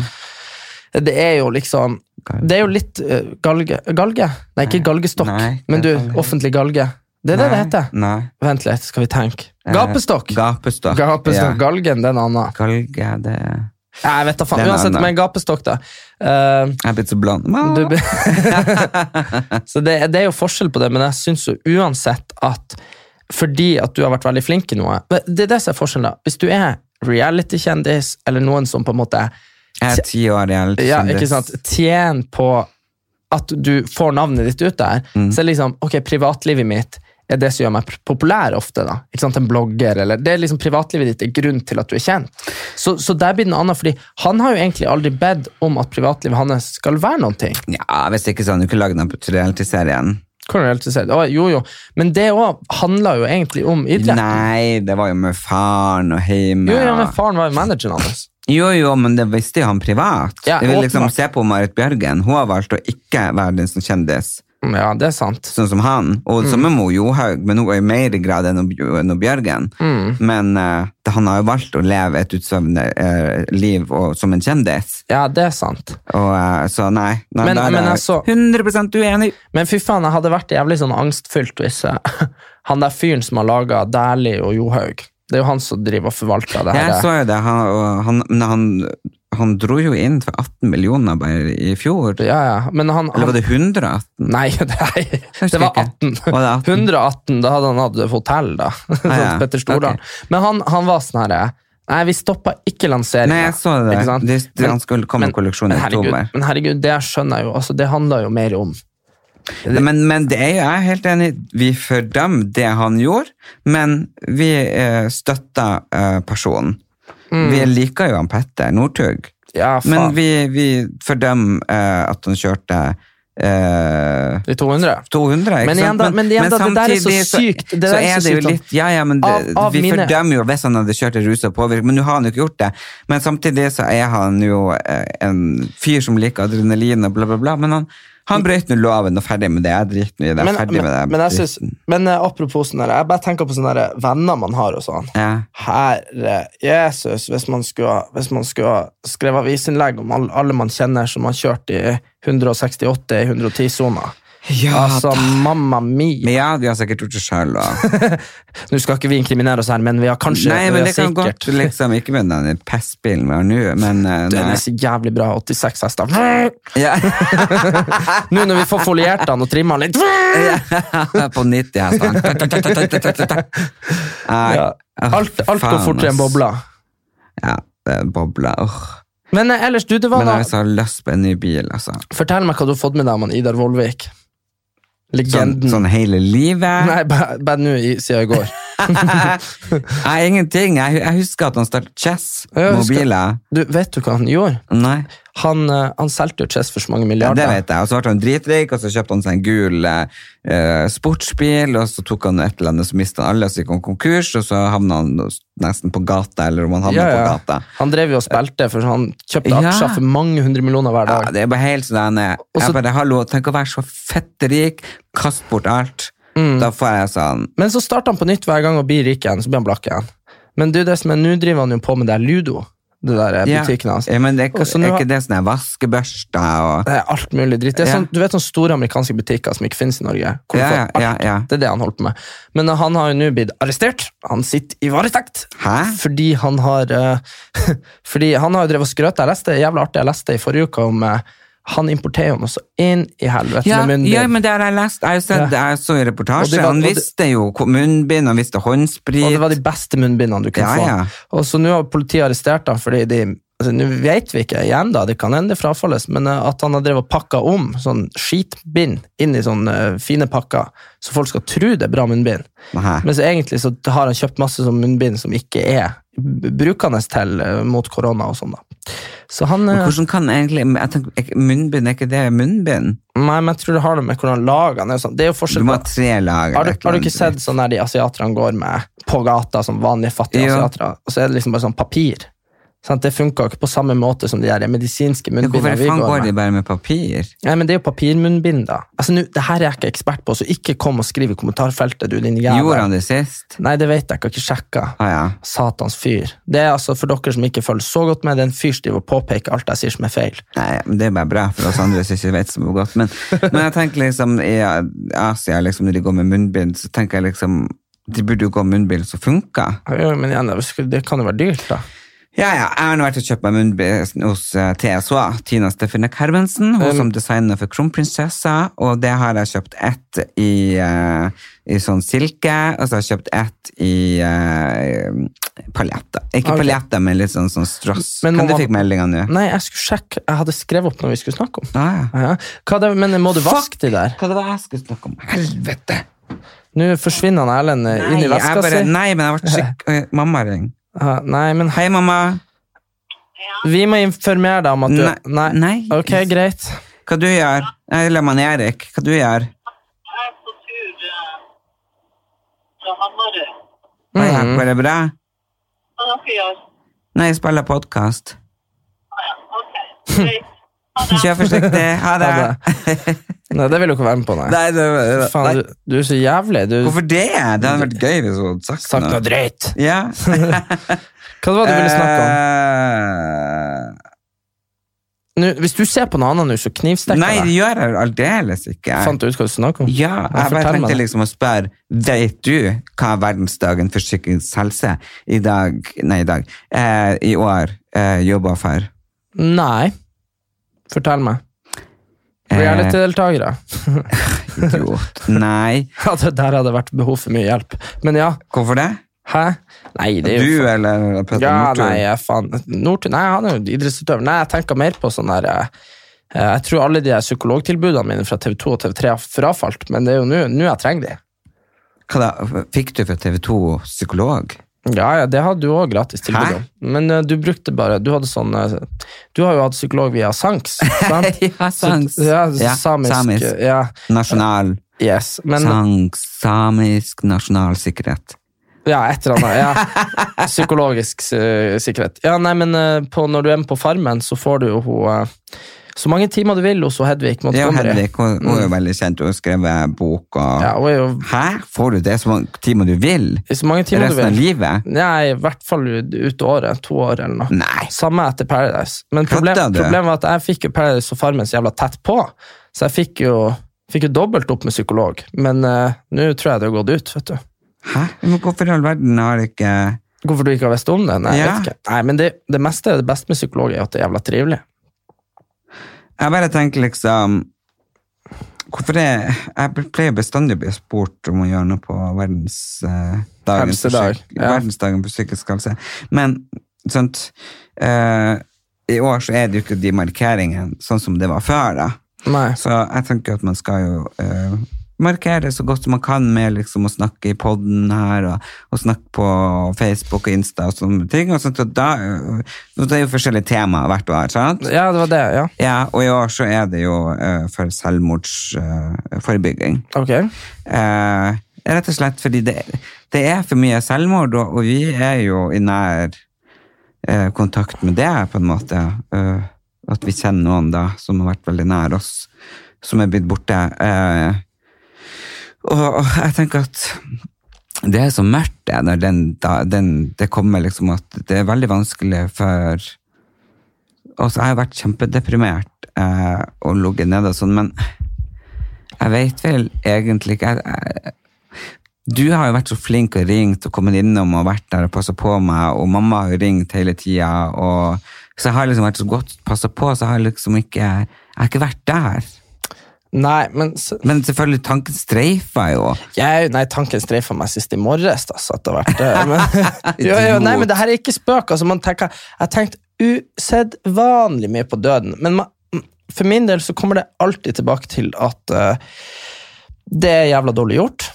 Det er jo liksom Det er jo litt eh, galge Galge? Nei, ikke galgestokk,
Nei, det
men du,
er galge.
offentlig galge. Det er det det
Nei,
heter.
Nei.
Vent litt, skal vi tenke.
Eh,
Gapestokk!
Gapestokk.
Gapestokk,
Ja.
Galgen, den anna.
Galge, det Jeg
Nei, Jeg vet da faen.
Den
Uansett,
annen.
men gapestokk, da. Eh,
er blitt så blond.
du, be- så det, det er jo forskjell på det, men jeg syns jo uansett at fordi at du har vært veldig flink i noe men Det er det som er forskjellen, da. Hvis du er reality-kjendis, eller noen som på en måte
Jeg er ti år gammel.
ja, ikke sant, tjener på at du får navnet ditt ut der, så er det liksom ok, privatlivet mitt er det som gjør meg populær ofte. da, ikke sant, En blogger eller det er liksom Privatlivet ditt er grunnen til at du er kjent. Så, så der blir det noe annet, fordi han har jo egentlig aldri bedt om at privatlivet hans skal være noen ting.
Ja, hvis ikke så hadde du ikke lagd den realityserien.
Kan du helt si det? Å, Jo, jo. Men det òg handler jo egentlig om idrett.
Nei, det var jo med faren og hjemme.
Jo, ja,
og-
men faren var jo manageren hans.
jo, jo, men det visste jo han privat.
Ja,
jeg vil liksom
åpenbart.
se på Marit Bjørgen. Hun har valgt å ikke være den som kjendis,
Mm, Ja, det er sant.
sånn som han. Og
Mm.
som med Mo Johaug, men hun er i mer grad enn hun- enn hun Bjørgen.
Mm.
Men eh, han har jo valgt å leve et utsvevende eh, liv og, som en kjendis.
Ja, det er sant.
Og, eh, så nei, nei
Men-
da er
men
jeg
altså-
100 uenig.
Men fy faen, jeg hadde vært jævlig sånn angstfylt hvis jeg, han der fyren som har laga Dæhlie og Johaug Det er jo han som driver og forvalter det her.
Jeg så jo det, han, og han, men han, han dro jo inn for 18 millioner bare i fjor.
Ja, ja. Men han,
Eller
han
var det 118?
Nei, nei, det var
ikke.
18.
Var det 18?
118, da hadde han hatt et hotell, da. Sånn
ja.
som Petter Stordalen. Men han, han var sånn herre Nei, vi stoppa ikke lanseringa.
Nei, jeg så det.
Ikke sant?
De, de,
Men-
han skulle komme med kolleksjon i
men herregud,
oktober.
men herregud, det skjønner jeg jo. Altså, det handler jo mer om
Men, men det er jo, jeg er helt enig, vi fordømmer det han gjorde, men vi eh, støtter eh, personen. Vi liker jo han Petter Northug,
Ja, Mm. faen.
men vi, vi fordømmer eh, at han kjørte eh,
de 200.
200, ikke
Men igjen
sant?
da- men igjen da, det der er så
samtidig
sykt. Det
så,
der er
er
så
det jo
sykt, da.
litt, ja, ja, men det,
Av- av
vi
mine-
fordømmer jo hvis han hadde kjørt en ruset påvirket, men nå har han jo ikke gjort det. Men samtidig så er han jo eh, en fyr som liker adrenalin og bla bla bla, men han, han brøt nå loven og ferdig med det, jeg driter nå i det,
Men,
jeg er ferdig
men,
med det.
men, jeg synes, men eh, apropos sånn der, jeg bare tenker på sånne der venner man har og sånn.
ja.
Herre Jesus, hvis man skulle, hvis man skulle skrevet avisinnlegg om alle, alle man kjenner som har kjørt i 168 i 110-sona.
Ja,
altså, mamma mi!
Men ja, de har sikkert gjort det selv. Og...
Nå skal ikke vi inkriminere oss her, men vi har kanskje
Nei, men
vi har
det kan
sikkert-
godt liksom, ikke med den pestbilen vi har nå, men eh,
Den
nei.
er så jævlig bra. 86 hester.
Ja.
Nå når vi får foliert den og trimma den litt
På 90 hester. Nei.
ja. Alt, alt går
Ah, faen,
fortere
ass.
enn bobla.
Ja, det er bobler. Åh.
Men eh, ellers, du, det var
Men altså-
da
jeg har lyst på en ny bil, altså.
Fortell meg hva du har fått med deg om han Idar Vollvik.
Sånn,
Legenden.
sånn hele livet. Nei.
Nei, bare bare nå i- siden i går.
ingenting. Jeg, hu- jeg husker at han startet Chess.
Ja, jeg husker-
Mobiler.
Du, vet du hva han gjorde?
Nei,
Han, eh, han solgte jo Chess for så mange
ja,
milliarder.
det vet jeg. Og så ble han dritrik, og så kjøpte han seg en gul eh, sportsbil, og så tok han et eller annet, så mistet han alle, og så gikk han konkurs, og så havna han nesten på gata, eller om han havna
Ja, ja.
på gata.
Han drev jo og spilte, for han kjøpte
Ja.
aksjer for mange hundre millioner hver dag.
Ja, det er bare helt sånn jeg,
Og så-
jeg bare, hallo, tenk å være så fett rik, kast bort alt.
Mm.
Da får jeg sånn
Men så starter han på nytt hver gang og blir rik igjen. Så blir han blakk igjen. Men du, det som er, nå driver han jo på med det her Ludo, det der eh,
Ja.
butikken hans.
Ja, men det er, ikke-
Og så nå
er
har-
ikke det sånn her vaskebørster og
Det er alt mulig dritt. Det er
Ja.
sånn, du vet sånne store amerikanske butikker som ikke finnes i Norge? Hvor du
Ja,
får
ja,
alt.
ja, ja.
Det er det han holder på med. Men eh, han har jo nå blitt arrestert. Han sitter i varetekt.
Hæ?
Fordi han har eh, Fordi han har jo drevet og skrøt. Jeg leste jævla artig jeg leste i forrige uke om eh, han importerer jo noe så inn i helvete
Ja,
med munnbind.
ja, men det har jeg lest. Jeg, har jo sett, jeg så i
Og
reportasje.
det var-
han
og det-
visste jo hvor munnbind, han visste håndsprit.
Og det var de beste munnbindene du kunne
Ja, ja.
få. Og så nå har politiet arrestert ham fordi de altså, Nå vet vi ikke igjen, da, det kan hende det frafalles, men eh, at han har drevet og pakka om sånn skitbind inn i sånne eh, fine pakker, så folk skal tro det er bra munnbind.
Nei.
Men så egentlig så har han kjøpt masse sånn munnbind som ikke er b- brukende til eh, mot korona og sånn, da. Så han
Men
eh,
hvordan kan egentlig jeg tenker, er ikke- Munnbind, er ikke det munnbind?
Nei, men jeg tror det har noe med hvordan lagene er og sånn. Det er jo
Du
forskjell
må
på
ha tre lag.
Har du,
det er
har du ikke
munnbind.
sett sånn der de asiaterne går med på gata, som vanlige fattige
Jo.
asiatere, og så er det liksom bare sånn papir? Sant? Det funka ikke på samme måte som de der medisinske
Ja, Hvorfor
munnbindene vi
faen går
går
de
med.
bare med papir?
Nei, men Det er jo papirmunnbind, da. Altså, nå, det her er jeg ikke ekspert på, så ikke kom og skriv i kommentarfeltet, du, din
Gjorde han
jævel.
det sist?
Nei, det vet jeg ikke, jeg har ikke sjekka.
Å ja.
Satans fyr. Det er altså, for dere som ikke følger så godt med, det er en fyr som driver og påpeker alt jeg sier som er feil.
Nei, men det er bare bra for oss andre som ikke vet så mye godt. Men, men jeg tenker liksom i Asia, liksom, når de går med munnbind, så tenker jeg liksom De burde jo gå med munnbind som funker.
Ja, Men igjen, det skulle- det kan jo være dyrt, da.
Ja, ja. Jeg har nå vært og kjøpt meg munnbind hos eh, TSH, Tina Stefanek Hermansen, hun
Um.
som designer for Kronprinsessa, og det har jeg kjøpt ett i, eh, i sånn silke, og så har jeg kjøpt ett i uh, paljetter. Ikke
Ah, ok.
paljetter, men litt sånn, sånn strass.
Men må Mm.
kan du
man-
fikk meldinga nå?
Nei, jeg skulle sjekke. Jeg hadde skrevet opp noe vi skulle snakke om.
Ah, ja.
Ja. Hva det, men må du vaske de der?
Hva det var jeg skulle snakke om? Helvete!
Nå forsvinner han Erlend eh,
Nei,
inn i
jeg
veska
bare,
si.
nei men jeg ble skikkelig Mamma ringer.
Ja, Nei, men
Hei, mamma.
vi må informere deg om at du
Nei, nei.
Ok, greit.
Hva du gjør? Eller man Erik, hva du gjør?
Jeg er på tur eh, fra Hamarøy.
Mm. Ja, går det bra?
Hva dere gjør
Nei, jeg spiller podkast.
Ah, ja, OK. Greit. Ha det.
Kjør forsiktig. Ha det.
Ha Nei, det vil du ikke være med på, nei.
Nei, det, nei.
Faen, du, du er så jævlig. Du
Hvorfor det? Det hadde vært gøy hvis hun hadde sagt,
sagt noe drøyt.
Ja.
Hva var det du ville snakke om?
Eh,
Nå, hvis du ser på noe annet nå, så knivstikker
Nei, det
jeg deg.
gjør jeg aldeles ikke.
Fant du ut hva du snakket om?
Ja,
Ja,
jeg bare
fortell meg
tenkte
det.
liksom å spørre Vet du hva verdensdagen for psykisk helse i dag, nei i dag, eh, i år eh, jobber for?
Nei. Fortell meg.
Eh.
Reality-deltakere.
Idiot. Nei.
Ja, det der hadde vært behov for mye hjelp. Men ja,
Hvorfor det?
hæ? Nei, det er jo
Du eller Petter
Ja,
Northug?
nei, jeg faen. Northug, nei, han er jo idrettsutøver. Nei, jeg tenker mer på sånn der eh, Jeg tror alle de her psykologtilbudene mine fra TV2 og TV3 har frafalt, men det er jo nå nå jeg trenger de.
Hva da? Fikk du fra TV 2 psykolog?
Ja, ja, det hadde du òg gratis
Hæ?
tilbud om. Men eh, du brukte bare Du hadde sånn eh, Du har jo hatt psykolog via Sanks, sant?
ja, sangs.
Så, ja, samisk.
samisk.
Ja,
Nasjonal
yes. Men
sangs, samisk nasjonal sikkerhet.
Ja, et eller annet. Ja. Psykologisk eh, sikkerhet. Ja, nei, men eh, på, når du er med på Farmen, så får du jo hun eh, så mange timer du vil hos hun Hedvig
Ja,
Montgomery.
Henrik, hun, hun er jo veldig kjent, hun har skrevet bok og
Mm. Ja, hun er jo
Hæ? Får du det så mange timer du vil?
i så mange timer du
Resten av
vil.
livet?
Nei, i hvert fall ut ut året. To år eller noe.
Nei.
Samme etter Paradise. Men problem,
Kødder du?
problemet var at jeg fikk jo Paradise og Farmen så jævla tett på, så jeg fikk jo, fikk jo dobbelt opp med psykolog. Men eh, nå tror jeg det har gått ut, vet du.
Hæ? Men hvorfor i all verden har ikke
Hvorfor du ikke har visst om det? Nei, jeg
Ja.
vet ikke. Nei men det, det meste det beste med psykolog er at det er jævla trivelig.
Jeg bare tenker liksom Hvorfor det Jeg pleier bestandig å bli spurt om å gjøre noe på verdens, eh, dagen for
Helsedag,
psyk-
ja.
verdensdagen for psykisk helse. Men sånt eh, I år så er det jo ikke de markeringene sånn som det var før, da.
Nei.
Så jeg tenker at man skal jo eh, markere så godt som man kan med liksom å snakke i podden her, og, og snakke på Facebook og Insta og sånne ting. Og sånt, og da, eh, og det er jo forskjellige temaer hvert år, sant?
Ja, det var det, ja.
Ja, og i år så er det jo eh, for eh, selvmordsforebygging.
Ok.
Eh, rett og slett fordi det, det er for mye selvmord, og, og vi er jo i nær eh, kontakt med det, på en måte. Eh, at vi kjenner noen da, som har vært veldig nær oss, som er blitt borte. Eh, og, og jeg tenker at det er så mørkt det, når den, da, den, det kommer liksom at det er veldig vanskelig for Altså, jeg har vært kjempedeprimert eh, og ligget nede og sånn, men jeg vet vel egentlig ikke jeg, jeg, Du har jo vært så flink og ringt og kommet innom og vært der og passa på meg, og mamma har jo ringt hele tida, og så jeg har liksom vært så godt passa på, så jeg har liksom ikke Jeg har ikke vært der.
Nei, men s-
Men selvfølgelig, tanken streifer jo.
jeg, nei, tanken streifa meg sist i morges. Altså, at det har vært det. Men, jo, jo, nei, men det her er ikke spøk. Altså, man tenker, jeg har tenkt usedvanlig mye på døden, men man, for min del så kommer det alltid tilbake til at eh, det er jævla dårlig gjort.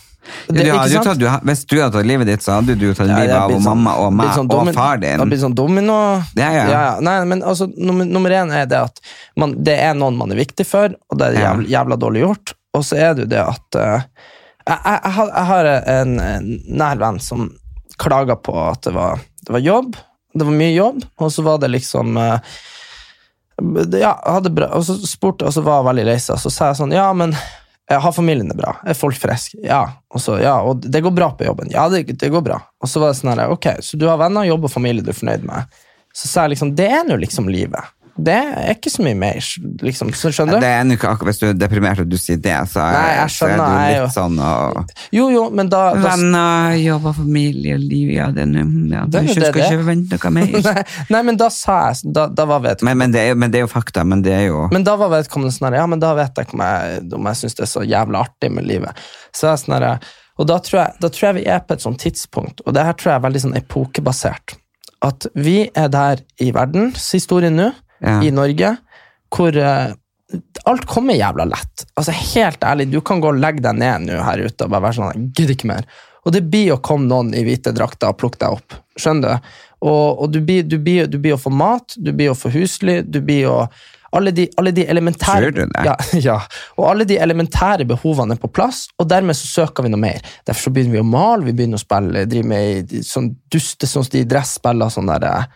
Du
Det- ikke
hadde jo
sant?
tatt, du, ha- hvis du hadde tatt livet ditt, så hadde du jo tatt
Ja, det
livet
har
av
blitt sånn-
mamma og meg
blitt sånn
og
domin-
far
Det har
din.
blitt sånn domino.
Ja, ja.
Nei, men altså, nummer, nummer én er det at man, det er noen man er viktig for, og det er
Ja.
jævla, jævla dårlig gjort. Og så er det jo det at eh, jeg, jeg, jeg har- jeg har en, en nær venn som klaga på at det var, det var jobb, det var mye jobb, og så var det liksom eh, ja, hadde bra, og så spurte, og så var jeg veldig lei seg, og så sa jeg sånn, ja, men eh, har familien det bra? Er folk friske? Ja, og så, ja, og det går bra på jobben. Ja, det, det går bra. Og så var det sånn her, ok, så du har venner, jobb og familie du er fornøyd med. Så sa jeg liksom, det er nå liksom livet. det er ikke så mye mer, liksom. Så skjønner du?
Det er nå ikke akkurat Hvis du er deprimert og du sier det, så er,
Nei, jeg
så er
skjønner, jeg
du
er
litt sånn og
Jo, jo, men da, da
Venner, jobb og familie og liv, ja, det er nå ja,
Altså, Det er
Du
jo det
skal
det er.
ikke vente noe mer.
nei, nei, men da sa jeg Da, da var
Men,
vedkommende
men, det er, jo- men det er jo fakta. Men det er jo
Men da var vedkommende sånn her, ja, men da vet jeg ikke om jeg, om jeg syns det er så jævla artig med livet. Så jeg er sånn her, og da tror, jeg, da tror jeg vi er på et sånt tidspunkt, og det her tror jeg er veldig sånn epokebasert, at vi er der i verdens historie nå,
Ja.
i Norge, hvor eh, alt kommer jævla lett. Altså Helt ærlig, du kan gå og legge deg ned nå her ute og bare være sånn «Jeg gidder ikke mer. Og det blir å komme noen i hvite drakter og plukke deg opp. Skjønner du? Og, og du, blir, du, blir, du blir å få mat, du blir å få husly, du blir å alle de, alle de elementære
Tror du det?
Ja, ja. Og alle de elementære behovene er på plass, og dermed så søker vi noe mer. Derfor så begynner vi å male, vi begynner å spille, drive med i sånn duste sånn de dresspiller sånn der eh,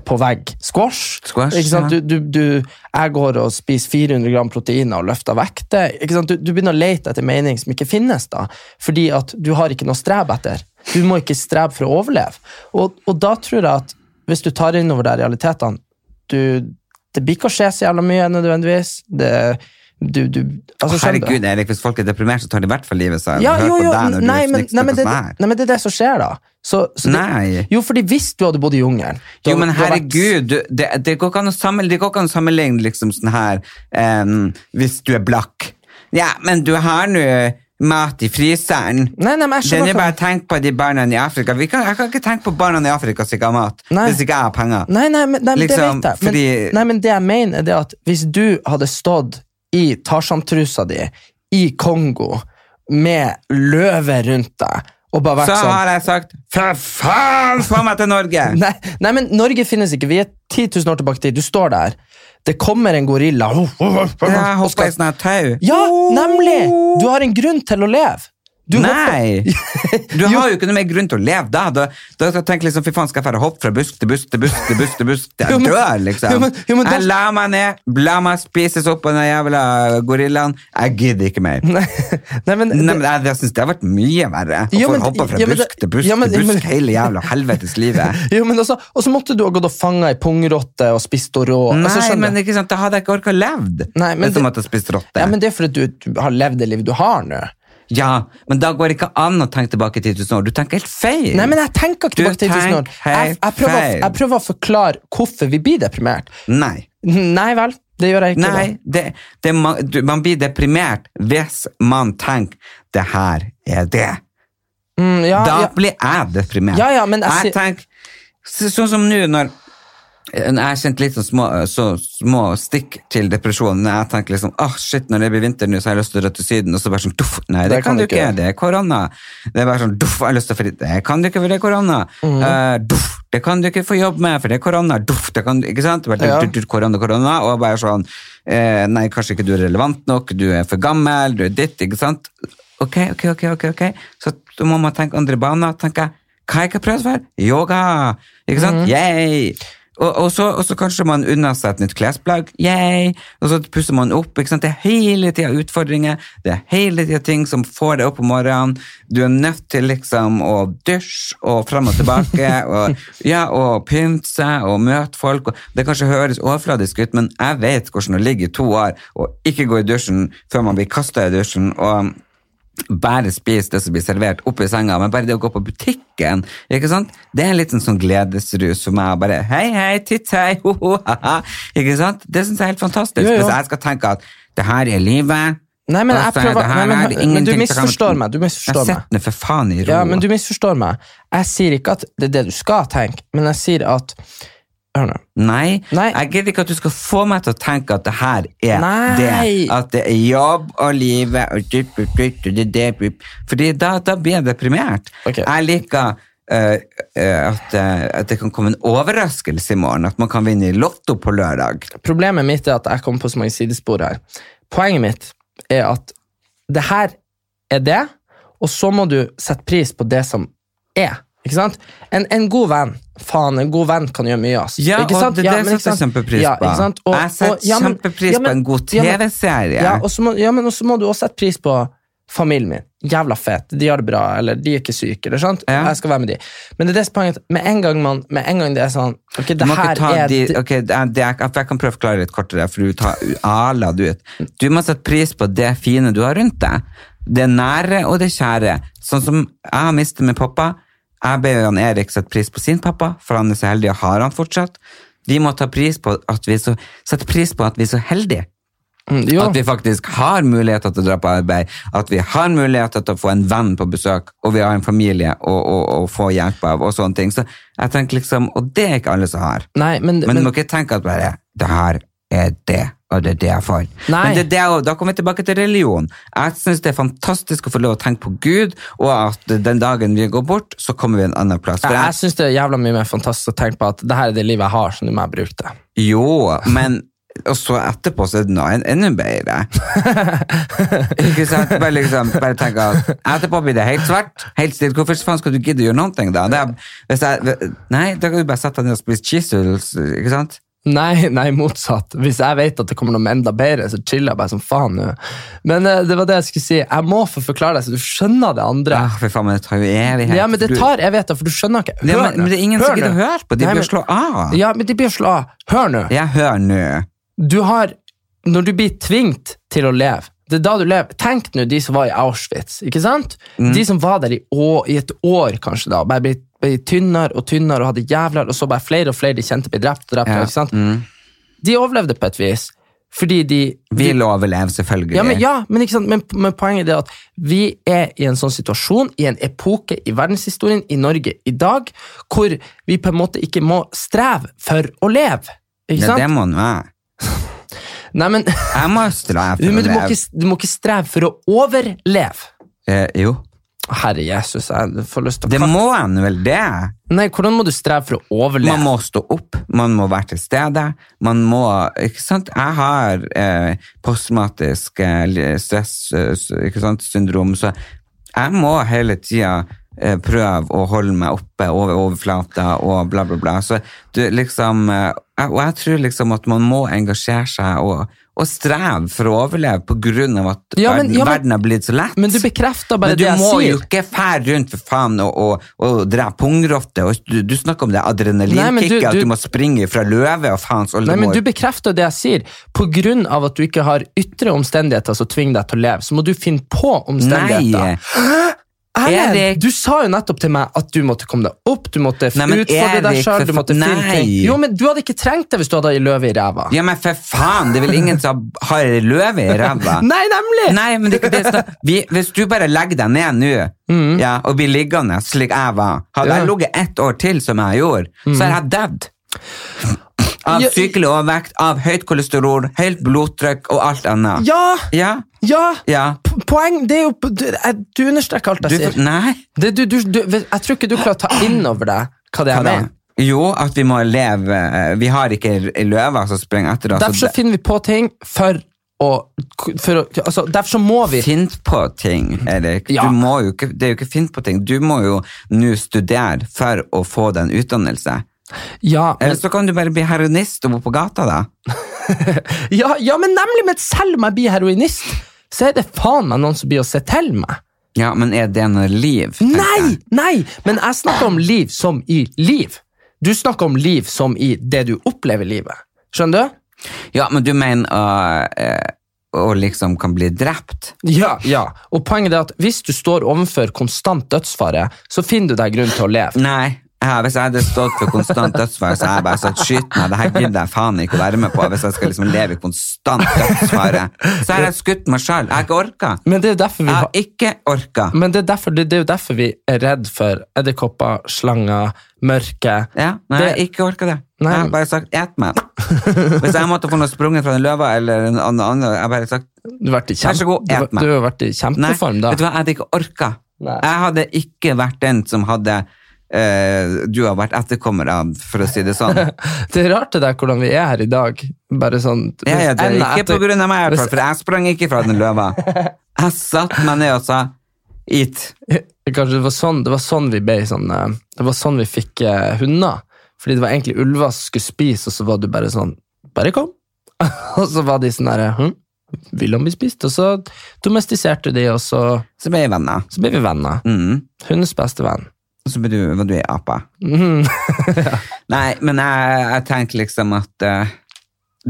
på vegg. Squash.
Squash,
ikke sant?
ja.
du, du, du, jeg går og spiser 400 gram proteiner og løfter vekter. Ikke sant? Du, du begynner å lete etter mening som ikke finnes, da, fordi at du har ikke noe å strebe etter. Du må ikke strebe for å overleve. Og, og da tror jeg at hvis du tar innover deg realitetene du, Det blir ikke å skje så jævla mye nødvendigvis. Det, du, du, altså, skjønner du?
Herregud, Erik, hvis folk er deprimert, så tar de i hvert fall livet seg.
Ja,
Hør
jo,
på
jo,
deg når du
nei, men,
snikker
nei, men det,
sånn her.
nei, men det er det som skjer, da. Så, så
Nei.
Det, jo, fordi hvis du hadde bodd i jungelen du
Jo,
hadde-
men
du hadde vært-
herregud, du, det, det går ikke an å sammenligne, det går ikke an å sammenligne liksom sånn her em, Hvis du er blakk. Ja, men du har nå mat i fryseren.
Nei, nei, men jeg
Den
skjønner
er
hva-
bare tenk på de barna i Afrika. Vi kan, jeg kan ikke tenke på barna i Afrika som ikke har mat,
Nei.
hvis ikke jeg har penger.
Nei, nei, men, nei, men
Liksom,
det vet jeg. Men,
fordi-
nei, men det jeg mener, er det at hvis du hadde stått i Tarzan-trusa di i Kongo med løve rundt deg og bare vært
Så
sånn
har jeg sagt for faen, få meg til Norge!
Nei, nei, men Norge finnes ikke. Vi er 10 000 år tilbake i tid. Du står der. Det kommer en gorilla.
Jeg
og
hoppa
skal-
i sånn her tau.
Ja, nemlig! Du har en grunn til å leve. Du
Nei! Du
Jo.
har jo ikke noe mer grunn til å leve da. Da, da skal jeg tenke liksom, fy faen, skal jeg fære hopp fra busk til busk til busk til busk til busk til
Jo,
jeg
men-
dør, liksom.
jo, men- jo, men da-
Jeg la meg ned, la meg spises opp av den jævla gorillaen. Jeg gidder ikke mer.
Nei, nei, men,
Nei, men jeg, jeg synes det har vært mye verre. Å
Ja,
få
men-
hoppa fra
ja, men det-
busk til busk
ja, men-
til
men-
busk hele jævla helvetes livet.
Jo, men også, og så måtte du ha gått og fanga ei pungrotte og spist og rå.
Nei,
altså, skjønner
men
du?
ikke sant, da hadde jeg ikke orka levd.
Nei, men
det er som
det-
at jeg spiste rotte.
ja, men det er fordi du, du har levd det livet du har nå.
Ja, men da går det ikke an å tenke tilbake 10 000 år. Du tenker helt feil.
Nei, men jeg tenker ikke
Du
tilbake til
tenker
1000 år. Jeg, jeg, prøver, å-
feil.
jeg prøver å forklare hvorfor vi blir deprimert.
Nei.
Nei vel, det gjør jeg ikke.
Nei, det, det, man, du, man blir deprimert hvis man tenker det her er det.
da. Mm, ja,
da
ja.
blir jeg deprimert.
Ja, ja, men jeg
jeg
sier-
tenker, så, sånn som nå når når jeg kjente litt sånn små, så små stikk til depresjonen. Når jeg tenker liksom, åh shit, når det blir vinter nå, så har jeg lyst til å dra til syden. Og så bare sånn, duff, nei, det, kan, du ikke, det er korona. Det er bare sånn, duff, jeg har lyst til å fri, det kan du ikke, for det er korona. Eh, duff, det kan du ikke få jobb med, for det er korona. Duff, det kan du, ikke sant? Bare,
Ja.
duff, duff, duff, korona, korona, og bare sånn, eh, nei, kanskje ikke du er relevant nok, du er for gammel, du er ditt, ikke sant? Ok, ok, ok, ok, ok. Så da må man tenke andre baner, tenker jeg, hva har jeg ikke prøvd før? Yoga, ikke sant? Yay! Og, og, så, og så kanskje man unner seg et nytt klesplagg, yay! Og så pusser man opp, ikke sant? Det er hele tiden utfordringer, det er hele tiden ting som får deg opp om morgenen, du er nødt til liksom å dusje, og frem og tilbake, og, ja, og pynte seg, og møte folk, og det kanskje høres overfladisk ut, men jeg vet hvordan det ligger i to år, og ikke gå i dusjen før man blir kastet i dusjen, og bare spise det som blir servert oppe i senga, men bare det å gå på butikken, ikke sant? Det er en liten sånn gledesrus for meg, bare hei, hei, titt, hei, ho, ho, ha, ha, ikke sant? Det synes jeg er helt fantastisk,
Jo, jo.
hvis jeg skal tenke at det her er livet,
Nei, men jeg
altså,
prøver
det her
nei,
er
men, men du
ingenting som kan-
misforstår meg. Du misforstår
Jeg
meg.
setter det for faen i ro.
Ja, men du misforstår meg. Jeg sier ikke at det er det du skal tenke, men jeg sier at Hør nå.
Nei,
Nei.
jeg gidder ikke at du skal få meg til å tenke at det her er
Nei.
det. At det er jobb og livet og dyp, dyp, dyp, dyp, dyp, dyp, dyp. Fordi da, da blir jeg deprimert.
Ok.
Jeg liker eh, eh, at, eh, at det kan komme en overraskelse i morgen. At man kan vinne i Lotto på lørdag.
Problemet mitt er at jeg kommer på så mange sidespor her. Poenget mitt er at det her er det, og så må du sette pris på det som er. Ikke sant? En, en god venn faen, en god venn kan gjøre mye. ass.
Ja,
ikke sant?
og det, det
men
setter
ikke
jeg
sant?
kjempepris
Ja,
på.
ikke sant? Og-
jeg setter
og- ja, men-
kjempepris
ja, men-
på en god
ja, men-
TV-serie.
Ja, og så må, ja, men så må du også sette pris på Familien min, jævla fet, de har det bra, eller de er ikke syke, eller sant?
Ja.
Jeg skal være med de. Men det er det som er poenget, at med en gang man, med en gang det er sånn, ok,
Du
det
må ikke
her
ta
er...
de,
det-
ok, det er, det er, jeg kan prøve å forklare litt kortere, for du tar ala du ut. Du må sette pris på det fine du har rundt deg. Det nære og det kjære. Sånn som jeg har mistet med pappa, jeg ber han Erik sette pris på sin pappa, for han er så heldig og har han fortsatt. Vi må ta pris på at vi så, sette pris på at vi er så heldige.
Mm, jo.
At vi faktisk har muligheter til å dra på arbeid, at vi har muligheter til å få en venn på besøk, og vi har en familie å, å, å få hjelp av, og sånne ting. Så jeg tenker liksom, og det er ikke alle som har.
Nei, men,
Men,
men,
du må ikke tenke at bare det her er det, og det er det jeg får.
Nei.
Men det, er det, og da kommer vi tilbake til religion. Jeg syns det er fantastisk å få lov å tenke på Gud, og at den dagen vi går bort, så kommer vi en annen plass. For
jeg,
jeg,
jeg synes det er jævla mye mer fantastisk å tenke på at det her er det livet jeg har, så nå må jeg bruke det.
jo, men og så etterpå så er det noe en- enda bedre. Ikke sant? Bare, liksom, bare tenke at etterpå blir det helt svart. Helt stilt. Hvorfor faen skal du gidde å gjøre noen ting, da? Det er, hvis jeg, nei, da kan du bare sette deg ned og spise cheese doodles, ikke sant?
Nei, nei, motsatt. Hvis jeg vet at det kommer noe enda bedre, så chiller jeg bare som faen nå. Men eh, det var det jeg skulle si. Jeg må få forklare deg, så du skjønner det andre.
Ah, for faen, men det tar jo evighet.
Ja, men det
Du-
tar Jeg vet det, for du skjønner ikke.
Det,
Hør
men,
nå.
men det er ingen som
Hør
gidder å
nå.
høre på. De
Nei,
bør
men-
slå av.
Ja, men de blir å slå av. Hør nå.
Jeg hører nå.
Du har Når du blir tvingt til å leve det er da du lever. Tenk nå de som var i Auschwitz. ikke sant?
Mm.
De som var der i, å, i et år, kanskje, da, bare ble, ble tynnere og tynnere og hadde jævler, og så bare flere og flere de kjente ble drept. og drept
Ja, Mm.
ikke sant? De overlevde på et vis, fordi de, de
Vil overleve, selvfølgelig.
Ja, men, ja, men, ikke sant? Men, men poenget er at vi er i en sånn situasjon, i en epoke i verdenshistorien, i Norge i dag, hvor vi på en måte ikke må streve for å leve. Ikke
Ja,
sant?
det må nå jeg.
Nei, men,
Jeg må streve
men
for å
du, må
leve.
ikke, du må ikke streve for å overleve.
Eh, jo.
Herre Jesus, jeg får lyst til
Det
å
må en vel det.
Nei, hvordan må du streve for å overleve?
Man må stå opp, man må være til stede. Man må Ikke sant? Jeg har eh, postmatisk eh, stress-syndrom, så jeg må hele tida eh, prøve å holde meg oppe over overflata og bla, bla, bla. Så du liksom eh, jeg- Og jeg tror liksom at man må engasjere seg og, og streve for å overleve på grunn av at
Ja, men-
verden,
ja, men-
verden har blitt så lett.
Men du bekrefter bare
Men du
det jeg
må
sier.
jo ikke fære rundt for faen og, og, og drepe pungrotte. og Du, du snakker om det
Nei, men
adrenalinkicket,
du-
at
du-
du må springe fra løve og faens
Nei, men
oldemor.
Du bekrefter det jeg sier. På grunn av at du ikke har ytre omstendigheter som tvinger deg til å leve, så må du finne på omstendigheter.
Nei.
Erlend,
Erik!
du sa jo nettopp til meg at du måtte komme deg opp, du måtte
Nei, men
utfordre deg
Erik,
sjøl.
for
Du måtte
fa-
finne
Nei.
ting. Jo, men du hadde ikke trengt det hvis du hadde ei løve i ræva.
Ja, men for faen! Det er vel ingen som har ei løve i ræva?
Nei, nemlig!
Nei, men det, er ikke det, som- vi, hvis du bare legger deg ned nå ja, og blir liggende slik jeg var Hadde
Mm. Ja. Mm.
jeg ligget ett år til, som jeg gjorde, så hadde jeg dødd. Av
Ja,
sykelig overvekt, av høyt kolesterol, høyt blodtrykk og alt annet.
Ja!
Ja,
Ja!
ja.
P- Poeng Det er jo Du, jeg- du understreker alt
Du,
jeg sier.
nei.
Det, du, du, du, jeg tror ikke du klarer å ta inn over deg hva det er jeg
Hva da?
mener.
Jo, at vi må leve eh, Vi har ikke r- løver som springer etter oss.
Derfor så
og
finner vi på ting for å, for å altså, Derfor så må vi
det- Finn på ting, Erik.
Ja.
Du må jo ikke, det er jo ikke finn på ting. Du må jo nå studere for å få den utdannelse.
Ja, men,
Eller så kan du bare bli heroinist og bo på gata, da.
ja, ja, men nemlig! Men selv om jeg blir heroinist, så er det faen meg noen som blir å se til meg.
Ja, men er det noe liv? tenker
Nei!
jeg?
nei Men jeg snakker om liv som i liv. Du snakker om liv som i det du opplever i livet. Skjønner du?
Ja, men du mener å, eh, å liksom kan bli drept?
Ja, ja. Og poenget er at hvis du står overfor konstant dødsfare, så finner du deg grunn til å leve.
Nei. Ja, hvis jeg hadde stått for konstant dødsfare, så hadde jeg bare sagt skyt meg. Det her gidder jeg faen ikke å være med på hvis jeg skal liksom leve i konstant dødsfare. Så har jeg skutt meg sjøl. Jeg har ikke orka.
Men det er derfor vi
Jeg
har
har ikke orka.
Men det er, derfor, det, det er jo derfor vi er redd for edderkopper, slanger, mørke.
Ja, nei, jeg har
Det-
ikke orka det.
Nei.
Jeg har bare sagt et meg. Hvis jeg måtte få noe sprunget fra en løve eller en annen, annen jeg har bare sagt
Du har vært i,
Vær så
kjempe,
god,
du, har-
et meg.
du har vært i
Nei,
kjempeform da.
vet du hva, jeg hadde ikke orka.
Nei.
Jeg hadde ikke vært den som hadde eh, du har vært etterkommer av, for å si det sånn.
Det er rart det der hvordan vi er her i dag. Bare sånn
Ja, ja, det er
enda
ikke
etter-
på grunn av meg, i hvert fall,
Hvis-
for jeg sprang ikke fra den løva. Jeg satt meg ned og sa Eat.
Kanskje det var sånn, det var sånn vi ble sånn eh, Det var sånn vi fikk eh, hunder. Fordi det var egentlig ulver som skulle spise, og så var du bare sånn Bare kom! og så var de sånn derre hm? ville han bli spist. Og så domestiserte de, og så,
Så ble vi venner.
så ble vi venner.
Mm.
Hennes beste venn.
Og så ble du, var du ei ape.
Mhm.
Nei, men jeg, jeg tenker liksom at eh,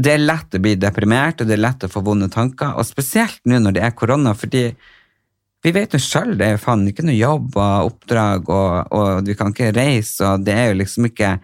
det er lett å bli deprimert, og det er lett å få vonde tanker, og spesielt nå når det er korona, fordi vi vet jo sjøl, det er jo faen ikke noe jobb og oppdrag, og, og vi kan ikke reise, og det er jo liksom ikke